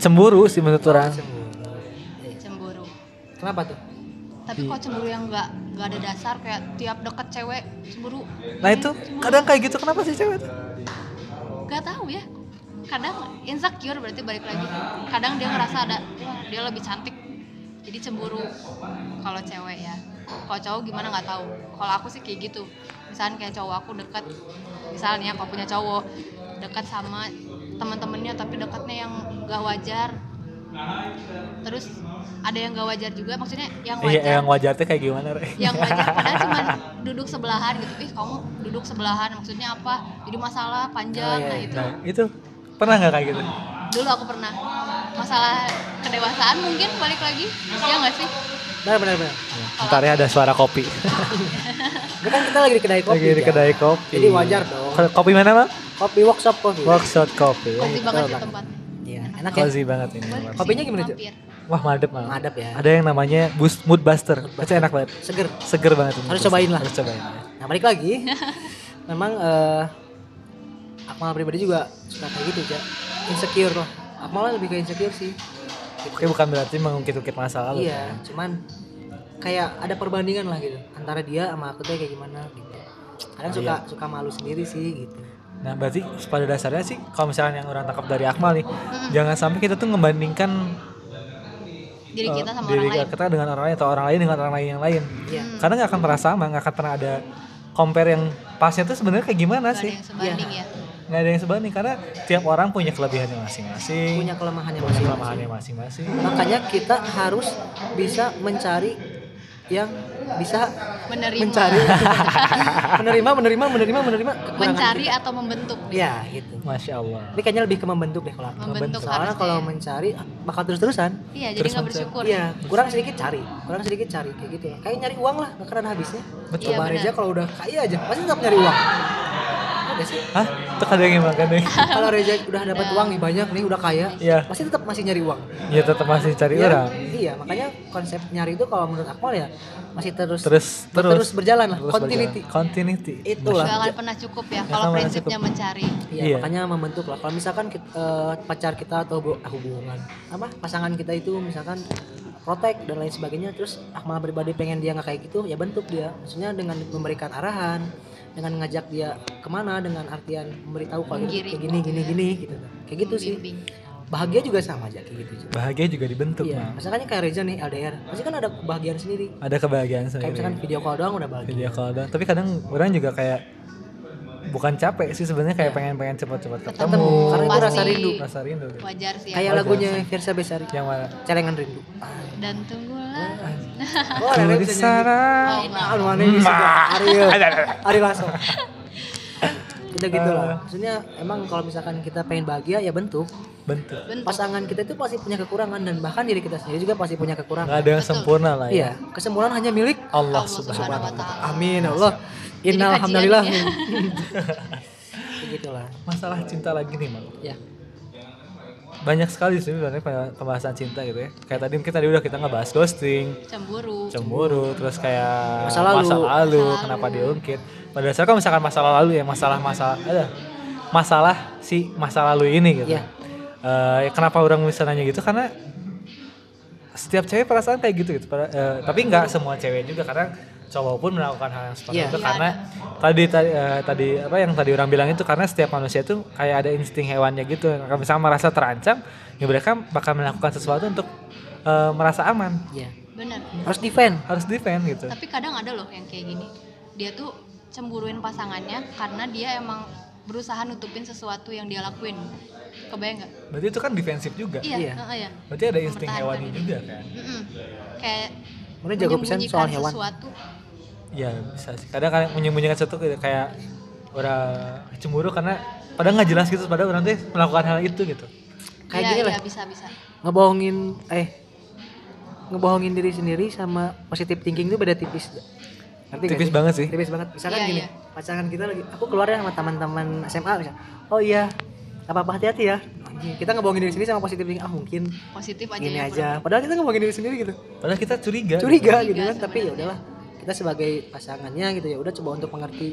[SPEAKER 1] cemburu sih menurut orang
[SPEAKER 3] cemburu
[SPEAKER 2] kenapa tuh Iya.
[SPEAKER 3] tapi kok cemburu yang nggak nggak ada dasar kayak tiap deket cewek cemburu
[SPEAKER 1] nah itu kadang kayak gitu kenapa sih cewek
[SPEAKER 3] nggak tahu ya kadang insecure berarti balik lagi kadang dia ngerasa ada "Wah, dia lebih cantik jadi cemburu kalau cewek ya kalau cowok gimana nggak tahu kalau aku sih kayak gitu misalnya kayak cowok aku dekat misalnya kalau punya cowok dekat sama teman-temannya tapi dekatnya yang nggak wajar terus ada yang nggak wajar juga maksudnya yang wajar
[SPEAKER 1] iya yang wajarnya kayak gimana re Nah,
[SPEAKER 3] yang wajar padahal cuma duduk sebelahan gitu ih kamu duduk sebelahan maksudnya apa jadi masalah panjang
[SPEAKER 2] Oh, iya,
[SPEAKER 3] nah itu
[SPEAKER 1] nah itu pernah nggak kayak gitu
[SPEAKER 3] dulu aku pernah masalah kedewasaan mungkin balik lagi ya nggak sih
[SPEAKER 2] benar benar benar
[SPEAKER 1] ntar ya ada suara kopi
[SPEAKER 2] Ini kan kita lagi di kedai kopi
[SPEAKER 1] lagi di
[SPEAKER 2] ya.
[SPEAKER 1] kedai kopi
[SPEAKER 2] Jadi wajar dong. Iya.
[SPEAKER 1] Ko- kopi mana mal
[SPEAKER 2] kopi workshop kopi
[SPEAKER 1] workshop kopi
[SPEAKER 3] pasti banget di
[SPEAKER 2] banget.
[SPEAKER 3] tempat
[SPEAKER 2] Iya, enak ya.
[SPEAKER 1] cozy banget ini
[SPEAKER 3] Boleh
[SPEAKER 1] Mal.
[SPEAKER 2] Kopinya
[SPEAKER 3] sih,
[SPEAKER 2] gimana, Cuk?
[SPEAKER 3] mampir.
[SPEAKER 1] wah madep mal
[SPEAKER 2] Ngadap ya.
[SPEAKER 1] ada yang namanya boost mood buster itu enak banget
[SPEAKER 2] Seger.
[SPEAKER 1] seger banget ini.
[SPEAKER 2] Harus cobain lah.
[SPEAKER 1] harus cobain ya.
[SPEAKER 2] Nah, balik lagi. Memang eh Akmal pribadi juga suka kayak gitu, Cak. Insecure loh. Akmal lebih ke insecure sih.
[SPEAKER 1] oke bukan berarti mengungkit-ungkit masa lalu
[SPEAKER 2] Iya, cuman kayak ada perbandingan lah gitu antara dia sama aku tuh kayak gimana gitu. Kadang
[SPEAKER 1] Oh,
[SPEAKER 2] suka suka malu sendiri sih gitu.
[SPEAKER 1] Nah berarti pada dasarnya sih kalau misalnya yang orang tangkap dari Akmal nih, jangan sampai kita tuh ngebandingkan
[SPEAKER 3] diri kita sama
[SPEAKER 1] Oh, Eh, diri
[SPEAKER 3] orang lain
[SPEAKER 1] kita dengan orang lain atau orang lain dengan orang lain yang lain.
[SPEAKER 2] Iya.
[SPEAKER 1] Karena nggak akan pernah sama, nggak akan pernah ada compare yang pasnya tuh sebenarnya kayak gimana
[SPEAKER 3] nggak ada
[SPEAKER 1] sih?
[SPEAKER 3] yang sebanding ya
[SPEAKER 1] Nggak ada yang sebanding karena tiap orang punya kelebihannya masing-masing,
[SPEAKER 2] Punya kelemahannya
[SPEAKER 1] punya
[SPEAKER 2] masing-masing.
[SPEAKER 1] kelemahannya masing-masing.
[SPEAKER 2] Makanya kita harus bisa mencari yang bisa
[SPEAKER 3] menerima
[SPEAKER 2] mencari menerima menerima menerima menerima kekurangan
[SPEAKER 3] mencari
[SPEAKER 2] kita.
[SPEAKER 3] atau membentuk
[SPEAKER 2] ya gitu
[SPEAKER 1] Masya Allah.
[SPEAKER 2] ini kayaknya lebih ke membentuk deh kalau aku.
[SPEAKER 1] Membentuk.
[SPEAKER 3] membentuk
[SPEAKER 2] soalnya
[SPEAKER 3] harusnya. ya.
[SPEAKER 2] kalau mencari bakal terus terusan
[SPEAKER 3] iya jadi
[SPEAKER 1] Terus
[SPEAKER 3] nggak
[SPEAKER 1] mencari.
[SPEAKER 3] bersyukur
[SPEAKER 2] Iya, kurang sedikit cari, kurang sedikit cari kayak gitu. Kayak nyari uang lah, gak ada habisnya.
[SPEAKER 1] Betul.
[SPEAKER 3] Iya,
[SPEAKER 2] Bang
[SPEAKER 3] benar.
[SPEAKER 2] Reza kalau udah kaya aja, pasti tetap nyari uang. Udah sih.
[SPEAKER 1] Hah? Itu kadang yang makan nih.
[SPEAKER 2] Kalau Reza udah dapat
[SPEAKER 3] Iya.
[SPEAKER 2] uang nih banyak nih, udah kaya,
[SPEAKER 1] Iya.
[SPEAKER 2] pasti tetap masih nyari uang.
[SPEAKER 1] Ya tetap masih cari
[SPEAKER 2] Iya,
[SPEAKER 1] orang.
[SPEAKER 2] Iya, makanya konsep nyari itu kalau menurut Akmal ya masih terus
[SPEAKER 1] Terus terus
[SPEAKER 2] terus berjalan lah,
[SPEAKER 1] terus
[SPEAKER 2] continuity.
[SPEAKER 1] berjalan. Continuity.
[SPEAKER 2] Itulah.
[SPEAKER 3] nggak akan pernah cukup ya
[SPEAKER 1] Nggak
[SPEAKER 3] kalau
[SPEAKER 1] akan pernah
[SPEAKER 3] prinsipnya mencari
[SPEAKER 2] Iya,
[SPEAKER 1] Iya.
[SPEAKER 2] makanya membentuk lah. Kalau misalkan kita, eh, pacar kita atau hubu- hubungan apa pasangan kita itu misalkan protek dan lain sebagainya, terus Akmal pribadi pengen dia nggak kayak gitu, ya bentuk dia. Maksudnya dengan memberikan arahan, dengan ngajak dia kemana, dengan artian memberitahu kalau gitu,
[SPEAKER 3] Menggiring.
[SPEAKER 2] kayak gini gini gini gitu. Kayak gitu sih.
[SPEAKER 3] membimbing.
[SPEAKER 2] Bahagia juga sama aja kayak gitu. juga.
[SPEAKER 1] Bahagia juga dibentuk,
[SPEAKER 2] Iya.
[SPEAKER 1] Mal.
[SPEAKER 2] Misalkan kayak Reza nih LDR, pasti kan ada kebahagiaan sendiri.
[SPEAKER 1] Ada kebahagiaan
[SPEAKER 2] Kayak
[SPEAKER 1] sendiri.
[SPEAKER 2] misalkan video call doang udah bahagia.
[SPEAKER 1] video call doang. ya tapi kadang orang juga kayak bukan capek sih sebenarnya kayak pengen-pengen cepat-cepat ketemu
[SPEAKER 2] Ketemu, karena itu
[SPEAKER 3] Pasti.
[SPEAKER 2] rasa rindu.
[SPEAKER 1] rasa rindu gitu.
[SPEAKER 3] wajar sih ya
[SPEAKER 2] Kayak lagunya Versa Besari,
[SPEAKER 1] yang mana
[SPEAKER 2] Celengan Rindu.
[SPEAKER 3] dan tunggulah
[SPEAKER 2] Oh, Reza
[SPEAKER 1] Aku di
[SPEAKER 2] bisa nyanyi.
[SPEAKER 1] sana
[SPEAKER 2] Ah, lu aneh bisa gua. Ariel. Ariel Lasso. Udah gitu lah. Maksudnya emang kalau misalkan kita pengen bahagia ya bentuk.
[SPEAKER 1] bentuk
[SPEAKER 3] bentuk
[SPEAKER 2] Pasangan kita itu pasti punya kekurangan dan bahkan diri kita sendiri juga pasti punya
[SPEAKER 1] nggak
[SPEAKER 2] kekurangan.
[SPEAKER 1] ada yang sempurna lah ya
[SPEAKER 2] Iya, kesempurnaan hanya milik
[SPEAKER 1] Allah
[SPEAKER 3] Allah
[SPEAKER 1] subhanahu wa
[SPEAKER 3] subhanahu wa ta'ala.
[SPEAKER 2] Amin Allah.
[SPEAKER 3] Jadi
[SPEAKER 2] Innal
[SPEAKER 3] kajian
[SPEAKER 2] hamdalillah.
[SPEAKER 3] ini ya.
[SPEAKER 2] Begitulah.
[SPEAKER 1] masalah cinta lagi nih mal
[SPEAKER 3] Iya.
[SPEAKER 2] Ya.
[SPEAKER 1] banyak sekali sih sebenarnya pe- pembahasan cinta gitu ya kayak tadi mungkin tadi udah kita ngebahas ghosting
[SPEAKER 3] cemburu
[SPEAKER 1] cemburu terus kayak
[SPEAKER 2] Masa lalu.
[SPEAKER 1] lalu, kenapa diungkit pada dasarnya kalau misalkan masalah lalu ya masalah masalah ada masalah si masa lalu ini gitu
[SPEAKER 2] Iya.
[SPEAKER 1] Eh, kenapa orang bisa nanya gitu karena setiap cewek perasaan kayak gitu gitu Pada- eh, tapi nggak semua cewek juga karena cowok pun melakukan hal yang seperti
[SPEAKER 2] Iya.
[SPEAKER 1] itu
[SPEAKER 3] Iya,
[SPEAKER 1] karena tadi tadi eh, tadi apa yang tadi orang bilang itu karena setiap manusia itu kayak ada insting hewannya gitu kalau misalnya merasa terancam ya mereka bakal melakukan sesuatu untuk eh, merasa aman
[SPEAKER 2] Iya.
[SPEAKER 3] bener
[SPEAKER 2] Harus defend.
[SPEAKER 1] harus defend gitu
[SPEAKER 3] tapi kadang ada loh yang kayak gini dia tuh cemburuin pasangannya karena dia emang berusaha nutupin sesuatu yang dia lakuin kebayang nggak
[SPEAKER 1] berarti itu kan defensif juga
[SPEAKER 3] iya
[SPEAKER 2] Iya.
[SPEAKER 3] heeh, iya
[SPEAKER 1] berarti ada insting
[SPEAKER 3] Mempertahankan
[SPEAKER 1] hewani
[SPEAKER 3] diri.
[SPEAKER 1] juga kan
[SPEAKER 3] Mm-mm. kayak
[SPEAKER 2] Mana jago pisan soal
[SPEAKER 3] menyembunyikan
[SPEAKER 2] hewan.
[SPEAKER 3] sesuatu
[SPEAKER 1] ya bisa sih kadang kadang menyembunyikan sesuatu kayak- kayak orang cemburu karena padahal nggak jelas gitu padahal orang tuh melakukan hal itu gitu
[SPEAKER 2] Kayak
[SPEAKER 3] Iya,
[SPEAKER 2] gini lah.
[SPEAKER 3] iya, bisa bisa
[SPEAKER 2] Ngebohongin eh ngebohongin diri sendiri sama positive thinking itu beda tipis. Ngerti gak
[SPEAKER 1] tipis
[SPEAKER 2] sih?
[SPEAKER 1] banget sih
[SPEAKER 2] Tipis banget. Misalkan
[SPEAKER 3] Iya,
[SPEAKER 2] gini,
[SPEAKER 3] iya.
[SPEAKER 2] pasangan kita lagi aku keluar ya sama teman-teman SMA misal. Oh iya. Gak apa-apa hati-hati ya. Anjing, Kita ngebohongin diri sendiri sama positive thinking. Ah mungkin
[SPEAKER 3] positif aja
[SPEAKER 2] gini
[SPEAKER 3] ya,
[SPEAKER 2] aja. Padahal kita ngebohongin diri sendiri gitu.
[SPEAKER 1] padahal kita curiga
[SPEAKER 2] curiga
[SPEAKER 3] Curiga
[SPEAKER 2] gitu kan tapi ya
[SPEAKER 3] sebenarnya.
[SPEAKER 2] udahlah kita sebagai pasangannya gitu ya udah coba untuk mengerti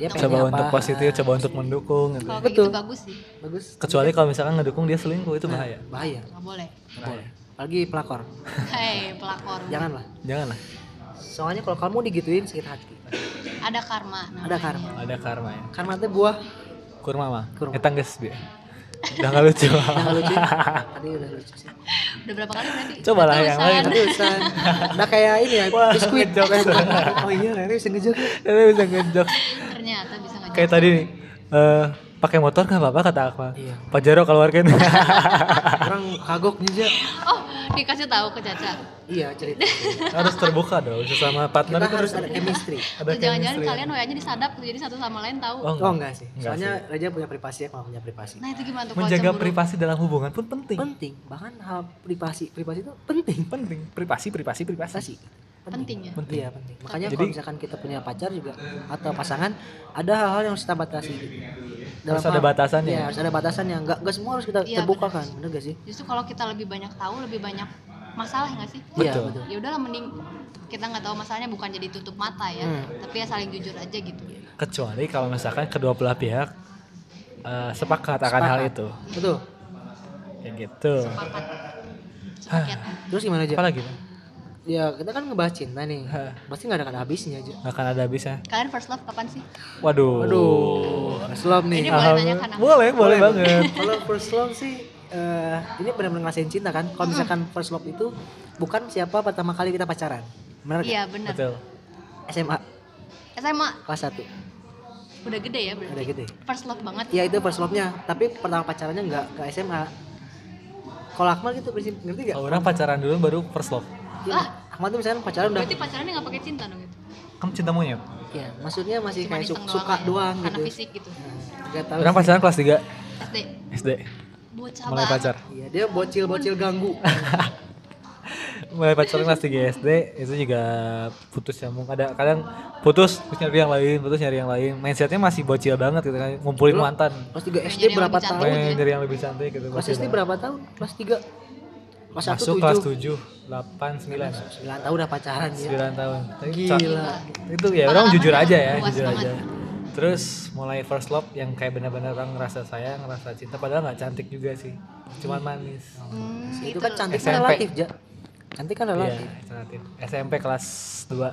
[SPEAKER 2] dia pengennya
[SPEAKER 1] coba
[SPEAKER 2] apa.
[SPEAKER 1] untuk positif coba untuk mendukung gitu.
[SPEAKER 3] kalau kayak
[SPEAKER 2] Betul.
[SPEAKER 3] gitu bagus sih
[SPEAKER 2] bagus
[SPEAKER 1] kecuali kalau misalkan ngedukung dia selingkuh itu bahaya
[SPEAKER 2] bahaya
[SPEAKER 3] nggak boleh
[SPEAKER 2] boleh lagi pelakor
[SPEAKER 3] hei pelakor
[SPEAKER 2] janganlah
[SPEAKER 1] janganlah
[SPEAKER 2] soalnya kalau kamu digituin sakit hati
[SPEAKER 3] ada karma namanya.
[SPEAKER 2] ada karma
[SPEAKER 1] ada karma ya
[SPEAKER 2] karma itu buah
[SPEAKER 1] kurma mah
[SPEAKER 2] Kurma.
[SPEAKER 1] Eta geus dia udah nggak lucu
[SPEAKER 2] yang lucu tadi udah lucu sih
[SPEAKER 3] udah berapa kali berarti
[SPEAKER 1] Coba lah yang lain.
[SPEAKER 2] tapi urusan udah kayak ini ya
[SPEAKER 1] Wah,
[SPEAKER 2] biskuit
[SPEAKER 1] ngejok.
[SPEAKER 2] oh iya Rere bisa ngejok
[SPEAKER 1] Ini bisa ngejok
[SPEAKER 3] ternyata bisa ngajak
[SPEAKER 1] kayak tadi nih eh, pakai motor nggak apa-apa kata Akmal
[SPEAKER 2] Iya.
[SPEAKER 1] Pajero keluarkan
[SPEAKER 2] orang kagok juga
[SPEAKER 3] oh dikasih tahu ke Caca
[SPEAKER 2] iya cerita
[SPEAKER 1] harus terbuka dong sesama partner
[SPEAKER 2] kita
[SPEAKER 1] itu
[SPEAKER 2] harus ada chemistry
[SPEAKER 1] ada
[SPEAKER 3] Tuh, jangan-jangan
[SPEAKER 1] chemistry.
[SPEAKER 3] kalian WA-nya disadap tuh, jadi satu sama lain tahu
[SPEAKER 1] oh,
[SPEAKER 2] oh
[SPEAKER 1] enggak.
[SPEAKER 2] enggak sih
[SPEAKER 1] Enggak
[SPEAKER 2] soalnya Reza punya privasi ya kalau punya privasi
[SPEAKER 3] nah itu gimana tuh kalau
[SPEAKER 1] menjaga
[SPEAKER 3] cemburu?
[SPEAKER 1] privasi dalam hubungan pun penting
[SPEAKER 2] penting bahkan hal privasi privasi itu penting
[SPEAKER 1] penting privasi privasi privasi
[SPEAKER 2] privasi
[SPEAKER 3] penting ya
[SPEAKER 1] penting
[SPEAKER 2] iya penting makanya
[SPEAKER 1] Jadi-
[SPEAKER 2] kalau misalkan kita punya pacar juga atau pasangan ada hal-hal yang harus kita batasi gitu.
[SPEAKER 1] Harus ada batasannya.
[SPEAKER 2] Iya, harus ada batasannya nggak nggak semua harus kita
[SPEAKER 3] Iya,
[SPEAKER 2] terbuka kan
[SPEAKER 3] benar.
[SPEAKER 2] bener gak sih
[SPEAKER 3] justru kalau kita lebih banyak tahu lebih banyak masalah nggak sih
[SPEAKER 1] Betul.
[SPEAKER 2] iya betul
[SPEAKER 3] ya udahlah mending kita nggak tahu masalahnya bukan jadi tutup mata ya
[SPEAKER 2] Hmm. Iya.
[SPEAKER 3] tapi ya saling jujur aja gitu
[SPEAKER 1] kecuali kalau misalkan kedua belah pihak eh, sepakat akan hal
[SPEAKER 2] Sepakat.
[SPEAKER 1] itu
[SPEAKER 2] betul
[SPEAKER 1] kayak gitu
[SPEAKER 3] sepakat sepaket
[SPEAKER 2] terus gimana aja
[SPEAKER 1] apa lagi Bang?
[SPEAKER 2] ya kita kan ngebahas cinta nih
[SPEAKER 1] Hah.
[SPEAKER 2] pasti nggak ada kan habisnya aja
[SPEAKER 1] nggak akan ada habisnya
[SPEAKER 3] kalian first love kapan sih
[SPEAKER 1] waduh
[SPEAKER 2] aduh first love nih
[SPEAKER 3] Ini
[SPEAKER 1] Alhamdulillah.
[SPEAKER 3] Boleh tanyakan, Akmal?
[SPEAKER 1] Oh. boleh, boleh banget
[SPEAKER 2] kalau first love sih eh, ini benar-benar ngerasain cinta kan
[SPEAKER 3] Hmm.
[SPEAKER 2] kalau misalkan first love itu bukan siapa pertama kali kita pacaran benar gak?
[SPEAKER 3] iya bener
[SPEAKER 1] betul
[SPEAKER 2] SMA
[SPEAKER 3] SMA
[SPEAKER 2] kelas 1
[SPEAKER 3] udah gede ya
[SPEAKER 2] Udah
[SPEAKER 3] berarti
[SPEAKER 2] gede.
[SPEAKER 3] first love banget
[SPEAKER 2] Ya itu first love-nya, tapi pertama pacarannya nggak ke SMA. Kalau Akmal gitu prinsip ngerti nggak?
[SPEAKER 3] Oh.
[SPEAKER 1] kalau orang pacaran dulu baru first love
[SPEAKER 2] Iya. Akmal tuh misalnya pacaran udah,
[SPEAKER 3] Ah. berarti pacarannya nggak pakai cinta dong itu
[SPEAKER 1] kamu cinta monyet
[SPEAKER 2] ya maksudnya masih
[SPEAKER 3] Cuma
[SPEAKER 2] kayak su-
[SPEAKER 3] iseng
[SPEAKER 2] suka
[SPEAKER 3] ya,
[SPEAKER 2] doang,
[SPEAKER 3] karena
[SPEAKER 2] gitu.
[SPEAKER 3] fisik gitu
[SPEAKER 2] Nah, Nggak tahu.
[SPEAKER 1] orang
[SPEAKER 2] sih.
[SPEAKER 1] pacaran kelas 3
[SPEAKER 3] SD
[SPEAKER 1] SD
[SPEAKER 3] bocah
[SPEAKER 1] mulai
[SPEAKER 3] banget
[SPEAKER 1] pacar
[SPEAKER 2] Iya dia bocil-bocil ganggu.
[SPEAKER 1] mulai pacaran kelas 3 SD itu juga putus ya mungkin ada kadang putus terus nyari yang lain putus nyari yang lain mindsetnya masih bocil banget gitu kan ngumpulin
[SPEAKER 2] Dulu-
[SPEAKER 1] mantan
[SPEAKER 2] Kelas 3 SD
[SPEAKER 3] Pengen
[SPEAKER 2] berapa
[SPEAKER 3] yang lebih
[SPEAKER 2] tahun?
[SPEAKER 3] cantik.
[SPEAKER 1] pengen nyari yang lebih cantik gitu
[SPEAKER 2] Kelas
[SPEAKER 1] bocil
[SPEAKER 2] SD
[SPEAKER 1] banget.
[SPEAKER 2] berapa tahun? Kelas 3 Kelas
[SPEAKER 1] masuk
[SPEAKER 2] 1
[SPEAKER 1] kelas
[SPEAKER 2] 7
[SPEAKER 1] 7 8 9
[SPEAKER 2] 9 tahun udah pacaran ya.
[SPEAKER 1] 9 tahun Tapi
[SPEAKER 2] Gila.
[SPEAKER 1] ca- itu ya orang
[SPEAKER 3] Pengalaman
[SPEAKER 1] jujur
[SPEAKER 3] yang
[SPEAKER 1] aja ya
[SPEAKER 3] luas
[SPEAKER 1] jujur
[SPEAKER 3] banget.
[SPEAKER 1] aja terus mulai first love yang kayak benar-benar orang ngerasa sayang ngerasa cinta padahal nggak cantik juga sih cuman
[SPEAKER 2] Iya.
[SPEAKER 1] manis
[SPEAKER 3] Hmm,
[SPEAKER 2] Itu kan cantik kan
[SPEAKER 1] SMP.
[SPEAKER 2] relatif, Ja. Cantik kan
[SPEAKER 1] iya
[SPEAKER 2] relatif.
[SPEAKER 1] cantik SMP kelas 2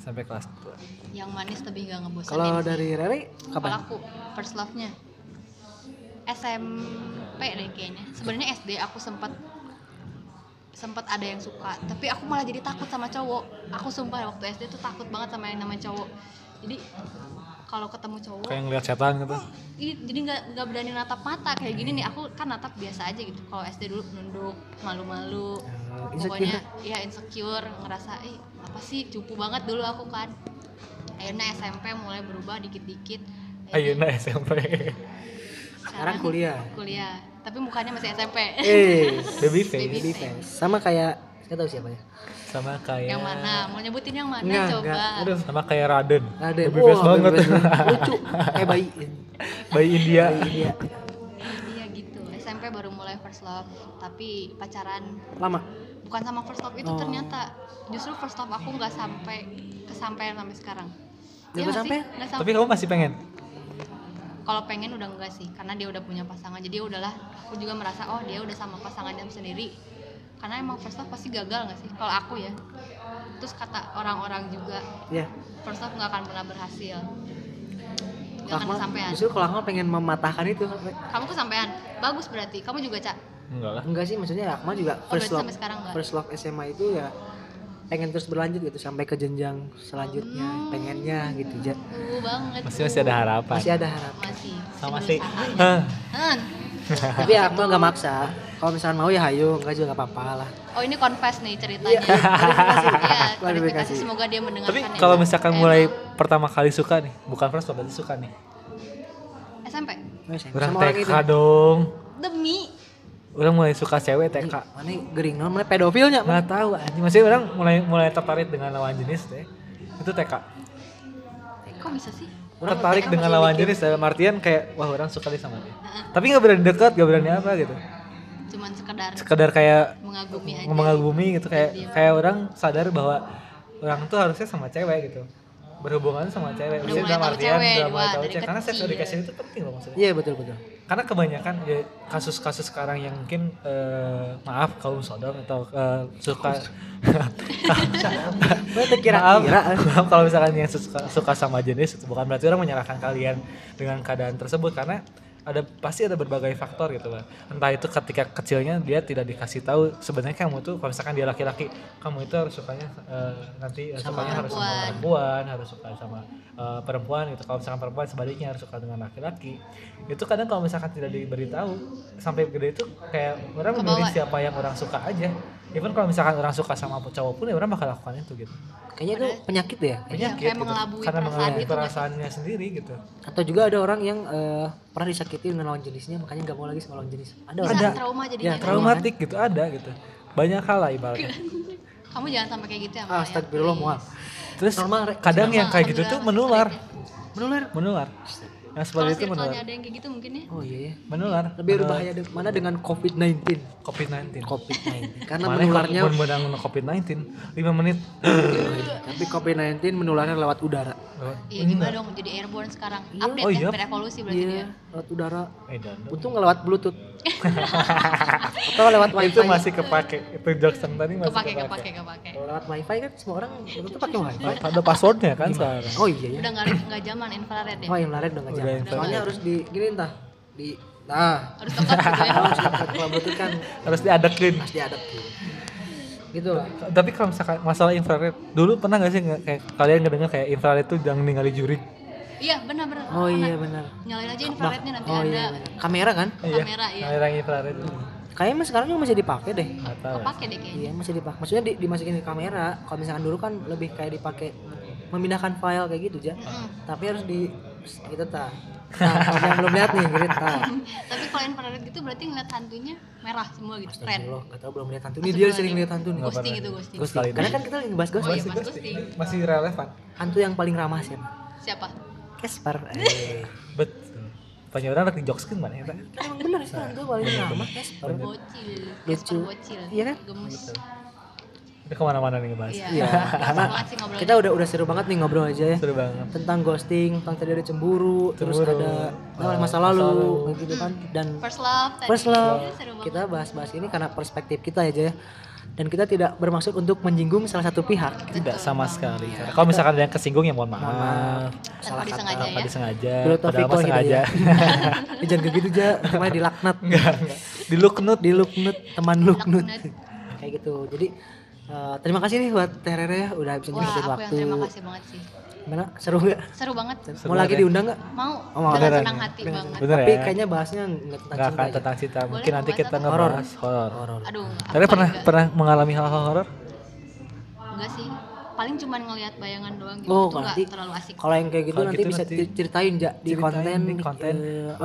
[SPEAKER 1] sampai kelas 2
[SPEAKER 3] yang manis tapi nggak ngebosanin
[SPEAKER 2] Kalau
[SPEAKER 3] sih.
[SPEAKER 2] dari Rere
[SPEAKER 3] Kalau
[SPEAKER 2] kapan?
[SPEAKER 3] aku first love-nya SMP deh kayaknya. Sebenarnya SD aku sempat sempat ada yang suka, tapi aku malah jadi takut sama cowok. Aku sumpah waktu SD tuh takut banget sama yang namanya cowok. Jadi kalau ketemu cowok,
[SPEAKER 1] kayak ngeliat setan gitu
[SPEAKER 3] i- jadi nggak nggak berani natap mata kayak gini nih. Aku kan natap biasa aja gitu. Kalau SD dulu nunduk, malu-malu. Pokoknya ya insecure, ngerasa ih apa sih cupu banget dulu aku kan. Akhirnya SMP mulai berubah dikit-dikit.
[SPEAKER 1] ayo nah SMP
[SPEAKER 2] Sekarang kuliah.
[SPEAKER 3] kuliah tapi mukanya masih SMP
[SPEAKER 2] Eh,
[SPEAKER 1] baby
[SPEAKER 3] Baby
[SPEAKER 1] face
[SPEAKER 2] Baby face. Sama kayak saya tahu siapa ya.
[SPEAKER 1] sama kayak
[SPEAKER 3] yang mana mau nyebutin yang mana
[SPEAKER 2] Enggak,
[SPEAKER 3] coba
[SPEAKER 2] enggak.
[SPEAKER 1] aduh sama kayak Raden
[SPEAKER 2] Ada.
[SPEAKER 1] baby face banget
[SPEAKER 2] Lucu kayak bayi.
[SPEAKER 1] bayi India
[SPEAKER 2] Bayi dia.
[SPEAKER 3] iya gitu SMP baru mulai first love tapi pacaran
[SPEAKER 2] Lama.
[SPEAKER 3] bukan sama first love itu
[SPEAKER 2] Oh.
[SPEAKER 3] ternyata justru first love aku nggak sampai kesampaian sampai sekarang
[SPEAKER 2] Nggak
[SPEAKER 3] Iya nggak sih?
[SPEAKER 2] kesampaian?
[SPEAKER 3] nggak
[SPEAKER 1] tapi
[SPEAKER 3] sampai
[SPEAKER 1] kamu masih pengen
[SPEAKER 3] kalau pengen udah enggak sih karena dia udah punya pasangan jadi ya udahlah aku juga merasa oh dia udah sama pasangannya sendiri karena emang first love pasti gagal nggak sih kalau aku ya itu terus kata orang-orang juga
[SPEAKER 2] ya
[SPEAKER 3] first love nggak akan pernah berhasil nggak akan
[SPEAKER 2] Rahma
[SPEAKER 3] kesampaian
[SPEAKER 2] justru kalau Rahma pengen mematahkan itu
[SPEAKER 3] kamu kesampaian bagus berarti kamu juga cak
[SPEAKER 1] enggak lah
[SPEAKER 2] enggak sih maksudnya Rahma juga
[SPEAKER 3] oh,
[SPEAKER 2] first
[SPEAKER 3] berarti
[SPEAKER 2] love
[SPEAKER 3] sampai sekarang nggak
[SPEAKER 2] first love SMA itu ya pengen terus berlanjut gitu sampai ke jenjang selanjutnya
[SPEAKER 3] Hmm.
[SPEAKER 2] pengennya gitu ja.
[SPEAKER 3] uh banget
[SPEAKER 1] masih masih ada harapan
[SPEAKER 2] masih ada harapan
[SPEAKER 3] masih
[SPEAKER 1] sama
[SPEAKER 3] masih
[SPEAKER 1] sih
[SPEAKER 3] berusaha.
[SPEAKER 1] Hah,
[SPEAKER 3] Hmm.
[SPEAKER 2] tapi ya Rahma nggak maksa kalau misalnya mau ya hayo enggak juga nggak apa-apa lah
[SPEAKER 3] oh ini confess nih ceritanya
[SPEAKER 2] klarifikasi.
[SPEAKER 3] Iya, klarifikasi semoga dia mendengarkan
[SPEAKER 1] tapi
[SPEAKER 3] ya,
[SPEAKER 1] kalau
[SPEAKER 3] Cak.
[SPEAKER 1] misalkan
[SPEAKER 3] Eh,
[SPEAKER 1] mulai pertama kali suka nih bukan first love berarti suka nih
[SPEAKER 3] SMP
[SPEAKER 2] Nggak sayang,
[SPEAKER 1] orang
[SPEAKER 2] sama orang
[SPEAKER 1] TK
[SPEAKER 2] itu
[SPEAKER 1] dong
[SPEAKER 3] demi
[SPEAKER 1] orang mulai suka cewek TK
[SPEAKER 2] mana gering non mana pedofilnya mana
[SPEAKER 1] nggak tahu anjing maksudnya orang mulai mulai tertarik dengan lawan jenis deh itu TK
[SPEAKER 3] kok bisa sih
[SPEAKER 1] orang tertarik
[SPEAKER 3] TK
[SPEAKER 1] dengan
[SPEAKER 3] masih
[SPEAKER 1] lawan
[SPEAKER 3] mikir.
[SPEAKER 1] jenis dalam artian kayak wah orang suka deh sama dia tapi nggak berani dekat nggak berani apa gitu
[SPEAKER 3] cuman sekedar
[SPEAKER 1] sekedar kayak
[SPEAKER 3] mengagumi aja Iya.
[SPEAKER 1] mengagumi gitu kayak kayak orang sadar bahwa orang tuh harusnya sama cewek gitu berhubungan sama cewek maksudnya
[SPEAKER 3] Udah mulai
[SPEAKER 1] dalam
[SPEAKER 3] tahu
[SPEAKER 1] artian
[SPEAKER 3] cewek,
[SPEAKER 1] udah mulai
[SPEAKER 3] Wak,
[SPEAKER 1] tahu
[SPEAKER 3] dari
[SPEAKER 1] cewek karena seks
[SPEAKER 3] kecil.
[SPEAKER 1] education itu penting loh maksudnya
[SPEAKER 2] iya betul betul
[SPEAKER 1] karena kebanyakan ya, kasus-kasus sekarang yang mungkin eh, maaf kaum sodom atau eh, suka
[SPEAKER 2] Mana kira-kira
[SPEAKER 1] maaf, maaf kalau misalkan yang suka, suka sama jenis itu bukan berarti orang menyalahkan kalian dengan keadaan tersebut karena ada pasti ada berbagai faktor gitu lah entah itu ketika kecilnya dia tidak dikasih tahu sebenarnya kamu tuh kalau misalkan dia laki-laki kamu itu harus sukanya eh, nanti eh, sukanya harus sama
[SPEAKER 3] perempuan.
[SPEAKER 1] perempuan harus suka sama eh, perempuan gitu kalau misalkan perempuan sebaliknya harus suka dengan laki-laki itu kadang kalau misalkan tidak diberitahu sampai gede itu kayak orang
[SPEAKER 3] Kebawa.
[SPEAKER 1] memilih siapa yang orang suka aja even kalau misalkan orang suka sama cowok pun ya orang bakal lakukan itu gitu
[SPEAKER 2] kayaknya itu penyakit ya. deh
[SPEAKER 1] penyakit
[SPEAKER 3] Iya, kayak
[SPEAKER 1] gitu.
[SPEAKER 3] mengelabui
[SPEAKER 1] karena
[SPEAKER 3] perasaan
[SPEAKER 1] mengelabui
[SPEAKER 3] gitu Nah, nggak sih?
[SPEAKER 1] perasaannya sendiri gitu
[SPEAKER 2] atau juga ada orang yang eh, pernah disakiti dengan lawan jenisnya makanya nggak mau lagi sama lawan jenis ada
[SPEAKER 3] bisa
[SPEAKER 2] orang
[SPEAKER 1] Ada.
[SPEAKER 3] trauma
[SPEAKER 2] Ya,
[SPEAKER 3] jadinya
[SPEAKER 2] trauma.
[SPEAKER 1] traumatik gitu ada gitu banyak hal lah ibaratnya
[SPEAKER 3] Iya. kamu jangan sampai kayak gitu ya Mbak, ya.
[SPEAKER 2] Ah, astagfirullah mual
[SPEAKER 1] terus
[SPEAKER 2] Normal, Rek.
[SPEAKER 1] kadang
[SPEAKER 3] Normal,
[SPEAKER 1] yang kayak gitu tuh
[SPEAKER 3] alhamdulillah,
[SPEAKER 1] menular
[SPEAKER 2] menular
[SPEAKER 1] menular yang seperti
[SPEAKER 3] kalau
[SPEAKER 1] itu menular
[SPEAKER 3] circle-nya ada yang kayak gitu mungkin ya
[SPEAKER 2] oh iya ya
[SPEAKER 1] menular
[SPEAKER 2] lebih berbahaya de- mana dengan covid 19
[SPEAKER 1] covid 19
[SPEAKER 2] covid 19 karena
[SPEAKER 1] Mana
[SPEAKER 2] menularnya
[SPEAKER 1] kalau menang covid 19 5 menit
[SPEAKER 2] tapi covid 19 menularnya lewat udara
[SPEAKER 3] iya
[SPEAKER 2] Oh,
[SPEAKER 3] gimana dong jadi airborne sekarang update
[SPEAKER 1] Oh,
[SPEAKER 3] ya
[SPEAKER 1] iya.
[SPEAKER 3] berevolusi berarti dia
[SPEAKER 2] iya lewat udara
[SPEAKER 1] Eh, dan-
[SPEAKER 2] untung nggak lewat bluetooth atau lewat wifi
[SPEAKER 1] itu masih kepake itu jokes yang tadi masih
[SPEAKER 3] kepake
[SPEAKER 1] kepake
[SPEAKER 3] kepake kepake
[SPEAKER 2] Kalau lewat wifi kan semua orang itu pakai wifi
[SPEAKER 1] ada passwordnya kan sekarang
[SPEAKER 2] oh iya ya
[SPEAKER 3] udah nggak nggak zaman infrared ya
[SPEAKER 2] oh yang menarik udah nggak
[SPEAKER 1] Udah
[SPEAKER 2] jalan
[SPEAKER 1] infrared.
[SPEAKER 2] soalnya harus di gini entah di nah
[SPEAKER 3] harus tetap gitu ya
[SPEAKER 2] harus dapat kalau bluetooth kan
[SPEAKER 1] harus diadekin
[SPEAKER 2] harus diadap gitu gitu lah
[SPEAKER 1] tapi kalau misalkan masalah infrared dulu pernah nggak sih nge- kayak kalian ngedengar kayak infrared tuh jangan ninggali juri
[SPEAKER 3] iya benar benar
[SPEAKER 2] oh iya benar
[SPEAKER 3] nyalain aja
[SPEAKER 2] Bah-
[SPEAKER 3] infrarednya nanti
[SPEAKER 2] oh
[SPEAKER 3] ada
[SPEAKER 2] iya benar. kamera kan
[SPEAKER 3] Kamera, iya.
[SPEAKER 1] kamera infrared itu
[SPEAKER 2] kayaknya mah sekarang juga masih dipakai deh
[SPEAKER 1] nggak tahu lah.
[SPEAKER 3] kepake deh kayaknya
[SPEAKER 2] iya masih dipakai maksudnya di- dimasukin ke kamera kalau misalkan dulu kan lebih kayak dipakai memindahkan file kayak gitu aja
[SPEAKER 3] Mm-mm.
[SPEAKER 2] tapi harus di gitu ta nah kalau yang belum lihat nih gitu ta
[SPEAKER 3] tapi kalau infrared gitu berarti ngeliat hantunya merah semua gitu red
[SPEAKER 2] Astagfirullah, nggak tahu belum lihat hantu. Ini dia sering lihat hantu nih.
[SPEAKER 1] ya. Nggak
[SPEAKER 3] ghosting
[SPEAKER 1] pernah.
[SPEAKER 3] itu ghosting
[SPEAKER 1] Ghost kali ini.
[SPEAKER 2] Karena kan kita lagi bahas ghost.
[SPEAKER 3] oh iya
[SPEAKER 2] Ghost.
[SPEAKER 3] mas ghosting
[SPEAKER 1] masih relevan
[SPEAKER 2] Hantu yang paling ramah siapa?
[SPEAKER 3] siapa
[SPEAKER 2] Casper. Eh,
[SPEAKER 1] betul banyak orang lagi jokskin mana ya Pak?
[SPEAKER 2] kan emang bener sih hantu paling
[SPEAKER 1] Iya,
[SPEAKER 2] ramah Casper.
[SPEAKER 3] bocil
[SPEAKER 2] Lucu.
[SPEAKER 3] Kasper bocil
[SPEAKER 2] Iya kan?
[SPEAKER 3] gemes
[SPEAKER 1] udah kemana-mana nih ngebahas
[SPEAKER 3] iya
[SPEAKER 2] Iya.
[SPEAKER 3] Gampang
[SPEAKER 2] Nah,
[SPEAKER 3] banget sih ngobrol
[SPEAKER 2] kita udah udah seru banget nih ngobrol aja ya
[SPEAKER 1] seru banget
[SPEAKER 2] tentang ghosting, tentang tadi ada cemburu, terus
[SPEAKER 1] Cemburu.
[SPEAKER 2] ada
[SPEAKER 1] Oh,
[SPEAKER 2] nah, masa
[SPEAKER 1] masa
[SPEAKER 2] lalu
[SPEAKER 1] lalu.
[SPEAKER 2] kayak gitu kan dan
[SPEAKER 3] first love tadi
[SPEAKER 2] first love.
[SPEAKER 3] Seru banget.
[SPEAKER 2] Kita bahas-bahas ini karena perspektif kita aja ya. Dan kita tidak bermaksud untuk menyinggung salah satu pihak.
[SPEAKER 1] tidak sama sekali Karena kalau misalkan ada yang kesinggung ya mohon maaf
[SPEAKER 3] tanpa Iya. disengaja
[SPEAKER 1] tanpa
[SPEAKER 3] ya
[SPEAKER 1] disengaja
[SPEAKER 2] Dulu
[SPEAKER 1] padahal mah sengaja
[SPEAKER 2] Ya, gitu jangan kayak gitu aja, cuma dilaknat.
[SPEAKER 1] enggak enggak di look nut
[SPEAKER 2] di Luknut teman Luknut
[SPEAKER 3] Luknut.
[SPEAKER 2] kayak gitu jadi eh, terima kasih nih buat Terere ya udah bisa
[SPEAKER 3] wah
[SPEAKER 2] nyempetin
[SPEAKER 3] aku yang
[SPEAKER 2] waktu
[SPEAKER 3] terima kasih banget sih
[SPEAKER 2] gimana seru nggak
[SPEAKER 3] seru banget
[SPEAKER 2] mau lagi diundang nggak
[SPEAKER 3] mau
[SPEAKER 2] Oh, mau
[SPEAKER 3] dengan
[SPEAKER 1] beneran.
[SPEAKER 3] senang hati banget
[SPEAKER 1] bener
[SPEAKER 2] tapi
[SPEAKER 1] ya
[SPEAKER 2] kayaknya bahasnya nggak tentang
[SPEAKER 1] nggak
[SPEAKER 2] cinta ya.
[SPEAKER 1] akan
[SPEAKER 2] aja.
[SPEAKER 1] tentang cinta mungkin
[SPEAKER 3] Boleh
[SPEAKER 1] nanti
[SPEAKER 3] ngebahas
[SPEAKER 1] kita
[SPEAKER 3] apa?
[SPEAKER 1] ngebahas horor
[SPEAKER 2] horor
[SPEAKER 3] aduh aku
[SPEAKER 1] Tadi pernah
[SPEAKER 3] enggak,
[SPEAKER 1] pernah mengalami hal-hal horor?
[SPEAKER 3] enggak sih paling cuman ngelihat bayangan doang gitu
[SPEAKER 2] Oh,
[SPEAKER 3] itu nggak
[SPEAKER 2] berarti
[SPEAKER 3] terlalu asik
[SPEAKER 2] kalau yang kayak gitu
[SPEAKER 1] Kalau
[SPEAKER 2] nanti
[SPEAKER 1] gitu
[SPEAKER 2] bisa
[SPEAKER 1] nanti
[SPEAKER 2] di- ceritain ja, di
[SPEAKER 1] ceritain
[SPEAKER 2] konten
[SPEAKER 1] di konten
[SPEAKER 2] eh,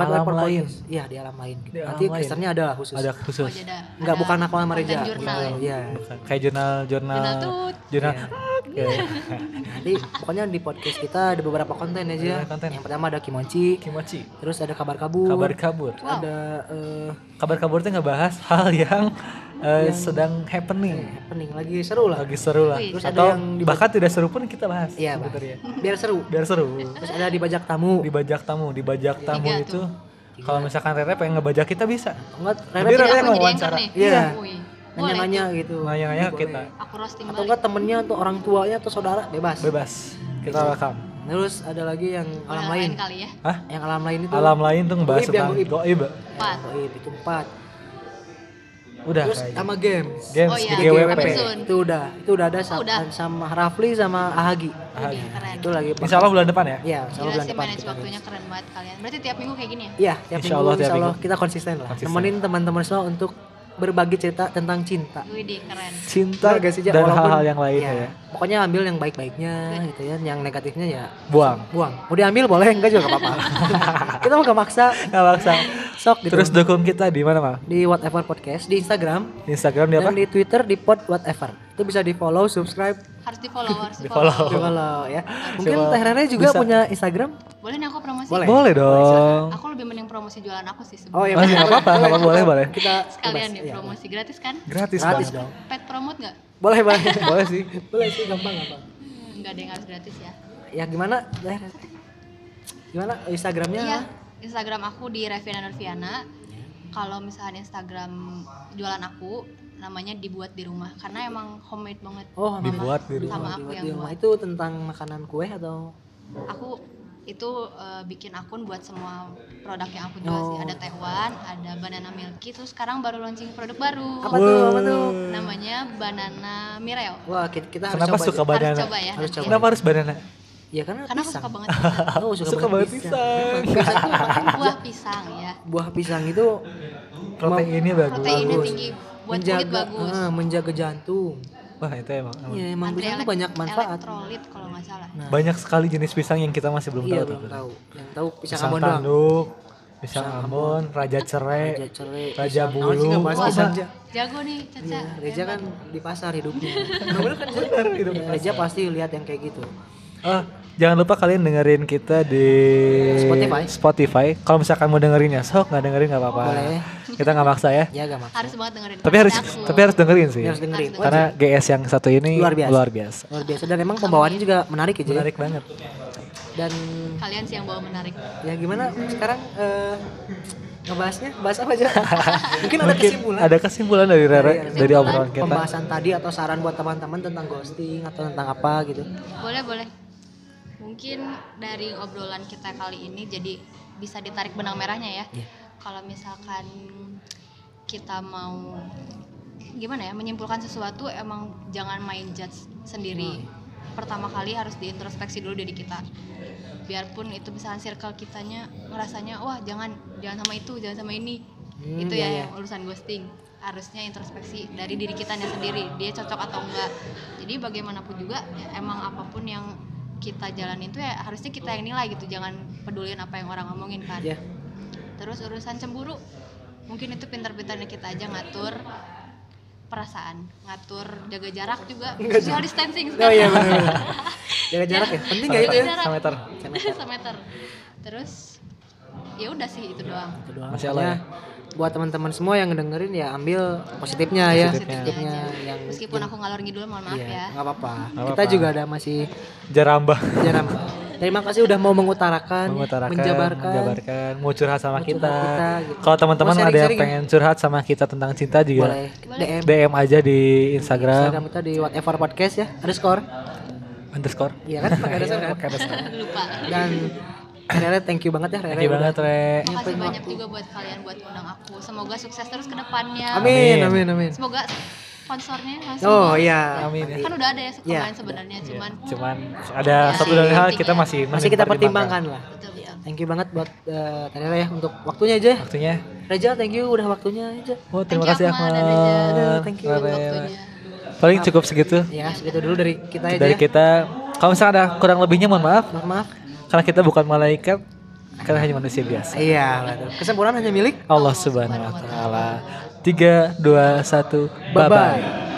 [SPEAKER 1] alam
[SPEAKER 2] lab- lab-
[SPEAKER 1] lain.
[SPEAKER 2] podcast. iya di alam lain gitu.
[SPEAKER 1] Di alam
[SPEAKER 2] nanti
[SPEAKER 1] lain.
[SPEAKER 2] casternya ada lah khusus
[SPEAKER 1] Ada khusus.
[SPEAKER 3] aja dah
[SPEAKER 2] nggak bukan aku sama
[SPEAKER 3] Nah, konten
[SPEAKER 2] Reja
[SPEAKER 3] jurnal ya.
[SPEAKER 2] gitu. iya
[SPEAKER 1] Bukan. Kayak jurnal-jurnal
[SPEAKER 3] Jurnal tut. Iya.
[SPEAKER 1] jurnal. Kayak
[SPEAKER 2] nanti pokoknya di podcast kita ada beberapa konten aja
[SPEAKER 1] Beberapa Iya, konten.
[SPEAKER 2] yang pertama ada Kimonci
[SPEAKER 1] Kimochi.
[SPEAKER 2] terus ada kabar kabur
[SPEAKER 1] Kabar kabur.
[SPEAKER 3] Wow.
[SPEAKER 2] ada eh,
[SPEAKER 1] Kabar kabur tuh ngebahas hal yang, eh, sedang happening.
[SPEAKER 2] happening lagi seru lah
[SPEAKER 1] Lagi seru lah.
[SPEAKER 2] Iya.
[SPEAKER 3] Wih.
[SPEAKER 2] Terus ada
[SPEAKER 1] Atau
[SPEAKER 2] yang dibaj-
[SPEAKER 1] bahkan tidak seru ya. pun kita bahas.
[SPEAKER 2] Iya, Bang.
[SPEAKER 1] sebenarnya.
[SPEAKER 2] biar seru
[SPEAKER 1] Biar seru.
[SPEAKER 2] terus ada dibajak tamu
[SPEAKER 1] Dibajak tamu, dibajak tamu
[SPEAKER 3] Iya. Tiga
[SPEAKER 1] itu kalau misalkan Rere pengen ngebajak kita bisa.
[SPEAKER 2] enggak
[SPEAKER 1] Jadi Rere
[SPEAKER 2] Rere
[SPEAKER 3] Aku
[SPEAKER 1] yang
[SPEAKER 3] jadi anchor
[SPEAKER 1] wawancara.
[SPEAKER 3] nih
[SPEAKER 2] Iya.
[SPEAKER 3] Wih.
[SPEAKER 2] nanya-nanya gitu
[SPEAKER 1] Nanya-nanya
[SPEAKER 2] Boleh.
[SPEAKER 1] kita.
[SPEAKER 3] aku roasting
[SPEAKER 2] atau
[SPEAKER 3] balik
[SPEAKER 2] enggak temennya atau orang tuanya atau saudara bebas
[SPEAKER 1] Bebas.
[SPEAKER 2] Iya.
[SPEAKER 1] Kita welcome.
[SPEAKER 2] terus ada lagi yang
[SPEAKER 3] Boleh
[SPEAKER 2] alam
[SPEAKER 3] yang
[SPEAKER 2] lain
[SPEAKER 3] lain kali ya
[SPEAKER 1] Hah?
[SPEAKER 2] yang alam lain itu
[SPEAKER 1] Alam lain tuh ngebahas
[SPEAKER 2] Goib ya,
[SPEAKER 1] tentang
[SPEAKER 2] goib.
[SPEAKER 1] goib.
[SPEAKER 3] empat
[SPEAKER 2] Ya, goib, itu empat
[SPEAKER 1] Udah gitu.
[SPEAKER 2] terus
[SPEAKER 1] kayaknya.
[SPEAKER 2] sama games
[SPEAKER 1] Games
[SPEAKER 3] Oh iya,
[SPEAKER 1] GWP.
[SPEAKER 3] apa Sun?
[SPEAKER 2] itu udah itu udah ada sa-
[SPEAKER 3] Oh, udah.
[SPEAKER 2] sama Rafli sama Ahagi
[SPEAKER 1] Ah,
[SPEAKER 3] Udah,
[SPEAKER 1] iya.
[SPEAKER 3] keren
[SPEAKER 2] itu lagi
[SPEAKER 1] Insya Allah bulan depan ya.
[SPEAKER 2] ya
[SPEAKER 3] Gila
[SPEAKER 2] sama bulan
[SPEAKER 3] sih
[SPEAKER 2] depan
[SPEAKER 3] manage
[SPEAKER 2] kita
[SPEAKER 3] waktunya keren banget kalian berarti tiap minggu kayak gini ya
[SPEAKER 2] Iya, tiap
[SPEAKER 1] Insya
[SPEAKER 2] minggu,
[SPEAKER 1] Allah,
[SPEAKER 2] insya
[SPEAKER 1] tiap
[SPEAKER 2] Allah
[SPEAKER 1] minggu.
[SPEAKER 2] kita konsisten lah.
[SPEAKER 1] Konsisten.
[SPEAKER 2] Nemenin teman-teman semua untuk berbagi cerita tentang cinta.
[SPEAKER 3] Widih keren
[SPEAKER 1] Cinta
[SPEAKER 2] Bener gak sih, Ja?
[SPEAKER 1] dan
[SPEAKER 2] Walaupun-
[SPEAKER 1] hal-hal yang lain
[SPEAKER 2] Iya.
[SPEAKER 1] ya.
[SPEAKER 2] Pokoknya ambil yang baik-baiknya
[SPEAKER 3] Iya.
[SPEAKER 2] gitu ya, yang negatifnya ya
[SPEAKER 1] Buang.
[SPEAKER 2] buang. Mau diambil boleh, enggak juga gak apa-apa. kita mau gak maksa,
[SPEAKER 1] Nggak maksa.
[SPEAKER 2] sok gitu.
[SPEAKER 1] Terus dukung kita di mana, Mal?
[SPEAKER 2] di whatever podcast, di Instagram,
[SPEAKER 1] Instagram di apa?
[SPEAKER 2] dan di Twitter di pod whatever. Itu bisa di follow, subscribe,
[SPEAKER 3] harus di follow harus di
[SPEAKER 1] Di-follow.
[SPEAKER 2] di
[SPEAKER 3] follow
[SPEAKER 2] follow ya. Mungkin
[SPEAKER 1] Coba
[SPEAKER 2] Teh Rere juga
[SPEAKER 1] bisa.
[SPEAKER 2] punya Instagram?
[SPEAKER 3] boleh nih aku promosi
[SPEAKER 2] Boleh.
[SPEAKER 1] Boleh dong.
[SPEAKER 3] aku lebih mending promosi jualan aku sih
[SPEAKER 2] Oh
[SPEAKER 3] sebenarnya
[SPEAKER 2] iya,
[SPEAKER 1] Oh, nggak apa-apa, nggak apa-apa, boleh, boleh.
[SPEAKER 2] Kita
[SPEAKER 3] sekalian
[SPEAKER 2] bebas,
[SPEAKER 3] nih
[SPEAKER 2] iya.
[SPEAKER 3] promosi gratis kan
[SPEAKER 1] Gratis,
[SPEAKER 2] Gratis
[SPEAKER 1] Bang.
[SPEAKER 2] dong.
[SPEAKER 3] pet promote nggak
[SPEAKER 2] Boleh, boleh.
[SPEAKER 1] Boleh sih.
[SPEAKER 2] boleh sih gampang, gampang.
[SPEAKER 3] Hmm, nggak ada yang harus gratis ya
[SPEAKER 2] ya gimana Ler? gimana Instagramnya
[SPEAKER 3] Iya, Instagram aku di Revina Nurfiana. Kalau misalnya Instagram jualan aku, namanya dibuat di rumah karena emang homemade banget.
[SPEAKER 2] oh sama-
[SPEAKER 1] Dibuat di rumah.
[SPEAKER 3] Sama aku
[SPEAKER 2] dibuat
[SPEAKER 3] yang
[SPEAKER 2] di rumah
[SPEAKER 3] buat.
[SPEAKER 2] itu tentang makanan kue atau
[SPEAKER 3] Aku itu eh, bikin akun buat semua produk yang aku jual sih.
[SPEAKER 2] Oh.
[SPEAKER 3] Ada Taiwan, ada Banana Milky, terus sekarang baru launching produk baru.
[SPEAKER 2] apa tuh apa tuh
[SPEAKER 3] Namanya Banana Mireo.
[SPEAKER 2] wah kita, kita harus
[SPEAKER 1] Kenapa
[SPEAKER 2] coba
[SPEAKER 1] suka
[SPEAKER 2] aja.
[SPEAKER 3] Harus
[SPEAKER 1] banana?
[SPEAKER 3] coba ya.
[SPEAKER 2] Harus
[SPEAKER 3] nanti
[SPEAKER 2] coba.
[SPEAKER 3] ya.
[SPEAKER 1] Kenapa harus banana?
[SPEAKER 2] ya karena,
[SPEAKER 3] Karena aku
[SPEAKER 2] pisang
[SPEAKER 3] suka banget pisang.
[SPEAKER 2] oh suka,
[SPEAKER 1] Suka
[SPEAKER 2] banget
[SPEAKER 1] banget
[SPEAKER 2] pisang,
[SPEAKER 1] pisang.
[SPEAKER 2] Pisang tuh
[SPEAKER 3] Kan buah pisang ya.
[SPEAKER 2] buah pisang itu
[SPEAKER 1] Proteinnya bagus.
[SPEAKER 3] Proteinnya tinggi, buat kulit
[SPEAKER 2] menjaga
[SPEAKER 3] bagus.
[SPEAKER 2] ah, menjaga jantung
[SPEAKER 1] Wah, itu emang. emang.
[SPEAKER 2] ya emang
[SPEAKER 3] Antri
[SPEAKER 2] pisang tuh
[SPEAKER 3] elek-
[SPEAKER 2] banyak manfaat
[SPEAKER 3] Elektrolit kalau nggak salah.
[SPEAKER 1] Banyak sekali jenis pisang yang kita masih belum
[SPEAKER 2] Nah. iya
[SPEAKER 1] tahu.
[SPEAKER 2] belum
[SPEAKER 1] tuh.
[SPEAKER 2] tahu yang tahu pisang
[SPEAKER 1] Pisang
[SPEAKER 2] ambon doang
[SPEAKER 1] tanduk, pisang ambon, raja cerai,
[SPEAKER 2] Raja cerai,
[SPEAKER 1] raja
[SPEAKER 2] pisang- Naon sih
[SPEAKER 1] bulu.
[SPEAKER 2] nggak bahas pisang, Ja?
[SPEAKER 3] Jago nih Caca.
[SPEAKER 2] Iya, Reza kan di pasar hidupnya.
[SPEAKER 1] Bener, hidup.
[SPEAKER 2] Ya, Reza pasti lihat yang kayak gitu.
[SPEAKER 1] Ah, jangan lupa kalian dengerin kita di
[SPEAKER 2] Spotify.
[SPEAKER 1] Spotify. Kalau misalkan mau dengerinnya, sok nggak dengerin nggak apa-apa.
[SPEAKER 2] Boleh.
[SPEAKER 1] Kita nggak maksa ya.
[SPEAKER 2] Ya gak maksa.
[SPEAKER 3] harus banget dengerin
[SPEAKER 1] Tapi harus
[SPEAKER 3] podcast aku.
[SPEAKER 1] tapi harus dengerin sih.
[SPEAKER 2] Harus dengerin.
[SPEAKER 3] Harus
[SPEAKER 1] Karena GS yang satu ini
[SPEAKER 2] Luar biasa.
[SPEAKER 1] biasa.
[SPEAKER 2] luar biasa dan emang pembawaannya juga menarik ya Jay.
[SPEAKER 1] Menarik banget.
[SPEAKER 2] dan
[SPEAKER 3] kalian sih yang bawa menarik
[SPEAKER 2] ya gimana sekarang eh, ngebahasnya bahas apa aja mungkin ada kesimpulan Iya,
[SPEAKER 1] Ada kesimpulan dari Rere, dari obrolan kita.
[SPEAKER 2] pembahasan tadi atau saran buat teman-teman tentang ghosting atau tentang apa gitu
[SPEAKER 3] boleh boleh mungkin dari obrolan kita kali ini jadi bisa ditarik benang merahnya ya
[SPEAKER 2] Iya.
[SPEAKER 3] kalau misalkan kita mau gimana ya menyimpulkan sesuatu emang jangan main judge sendiri
[SPEAKER 2] Iya.
[SPEAKER 3] pertama kali harus diintrospeksi dulu diri kita biarpun itu misalnya circle kitanya ngerasanya wah jangan jangan sama itu jangan sama ini
[SPEAKER 2] Hmm,
[SPEAKER 3] itu
[SPEAKER 2] iya, iya.
[SPEAKER 3] ya yang urusan ghosting harusnya introspeksi dari diri kita sendiri dia cocok atau enggak jadi bagaimanapun juga ya emang apapun yang kita jalanin itu ya harusnya kita yang nilai gitu jangan peduliin apa yang orang ngomongin kan
[SPEAKER 2] ya
[SPEAKER 3] terus urusan cemburu mungkin itu pintar-pintarnya kita aja ngatur perasaan ngatur jaga jarak juga social distancing
[SPEAKER 2] oh iya
[SPEAKER 3] sekarang.
[SPEAKER 2] benar jaga jarak ya penting gak itu ya
[SPEAKER 3] Jarak.
[SPEAKER 1] Sama meter.
[SPEAKER 3] Semeter. terus ya udah sih itu doang
[SPEAKER 2] Itu doang.
[SPEAKER 1] Masya Allah ya.
[SPEAKER 2] Pokoknya buat teman-teman semua yang ngedengerin ya ambil positifnya ya
[SPEAKER 1] Positifnya.
[SPEAKER 2] positifnya yang
[SPEAKER 3] meskipun aku ngalor ngidul mohon maaf
[SPEAKER 2] Iya,
[SPEAKER 3] ya
[SPEAKER 2] nggak apa-apa
[SPEAKER 1] Nggak
[SPEAKER 2] kita
[SPEAKER 1] apa-apa.
[SPEAKER 2] juga ada masih
[SPEAKER 1] Jaramba
[SPEAKER 2] jarang terima kasih udah mau mengutarakan,
[SPEAKER 1] mengutarakan,
[SPEAKER 2] menjabarkan,
[SPEAKER 1] menjabarkan, mau curhat sama
[SPEAKER 2] Mau
[SPEAKER 1] kita.
[SPEAKER 2] curhat kita, gitu.
[SPEAKER 1] Kalau teman-teman
[SPEAKER 2] Mau
[SPEAKER 1] ada yang
[SPEAKER 2] sharing-sharing
[SPEAKER 1] pengen curhat sama kita tentang cinta juga
[SPEAKER 2] boleh DM
[SPEAKER 1] DM aja di
[SPEAKER 2] Instagram
[SPEAKER 1] Instagram,
[SPEAKER 2] kita di whatever podcast ya underscore
[SPEAKER 1] underscore.
[SPEAKER 2] iya kan pakai underscore kan
[SPEAKER 3] lupa
[SPEAKER 2] dan Rere thank you banget ya Rere
[SPEAKER 1] Thank you banget, Re.
[SPEAKER 3] Makasih
[SPEAKER 2] Nyampein
[SPEAKER 3] banyak
[SPEAKER 2] Iya, waktu.
[SPEAKER 3] juga buat kalian buat undang aku. Semoga sukses terus ke depannya.
[SPEAKER 1] Amin.
[SPEAKER 2] amin amin amin
[SPEAKER 3] Semoga sponsornya langsung.
[SPEAKER 2] oh iya
[SPEAKER 1] Amin ya.
[SPEAKER 3] Kan udah ada ya
[SPEAKER 2] Iya.
[SPEAKER 3] kemarin sebenarnya cuman
[SPEAKER 1] Cuman ada satu dan lain hal kita masih
[SPEAKER 2] masih kita pertimbangkan lah
[SPEAKER 3] betul betul.
[SPEAKER 2] thank you banget buat eh, Teh Rere ya untuk waktunya aja ya.
[SPEAKER 1] Waktunya.
[SPEAKER 2] Reza thank you udah waktunya aja
[SPEAKER 1] Oh, terima
[SPEAKER 3] Thank you,
[SPEAKER 1] kasih
[SPEAKER 3] Ahmad,
[SPEAKER 1] Ahmad.
[SPEAKER 3] Reza.
[SPEAKER 2] Aduh, thank you.
[SPEAKER 1] Rere.
[SPEAKER 3] Waktunya.
[SPEAKER 1] Paling cukup segitu
[SPEAKER 2] ya segitu dulu dari kita aja
[SPEAKER 1] dari
[SPEAKER 2] ya.
[SPEAKER 1] kita. Kalau misalkan ada kurang lebihnya mohon maaf
[SPEAKER 2] mohon maaf
[SPEAKER 1] karena kita bukan malaikat, karena hanya manusia biasa.
[SPEAKER 2] iya betul. kesempurnaan hanya milik
[SPEAKER 1] Allah Subhanahu wa taala. 3 2 1 bye bye.
[SPEAKER 2] bye.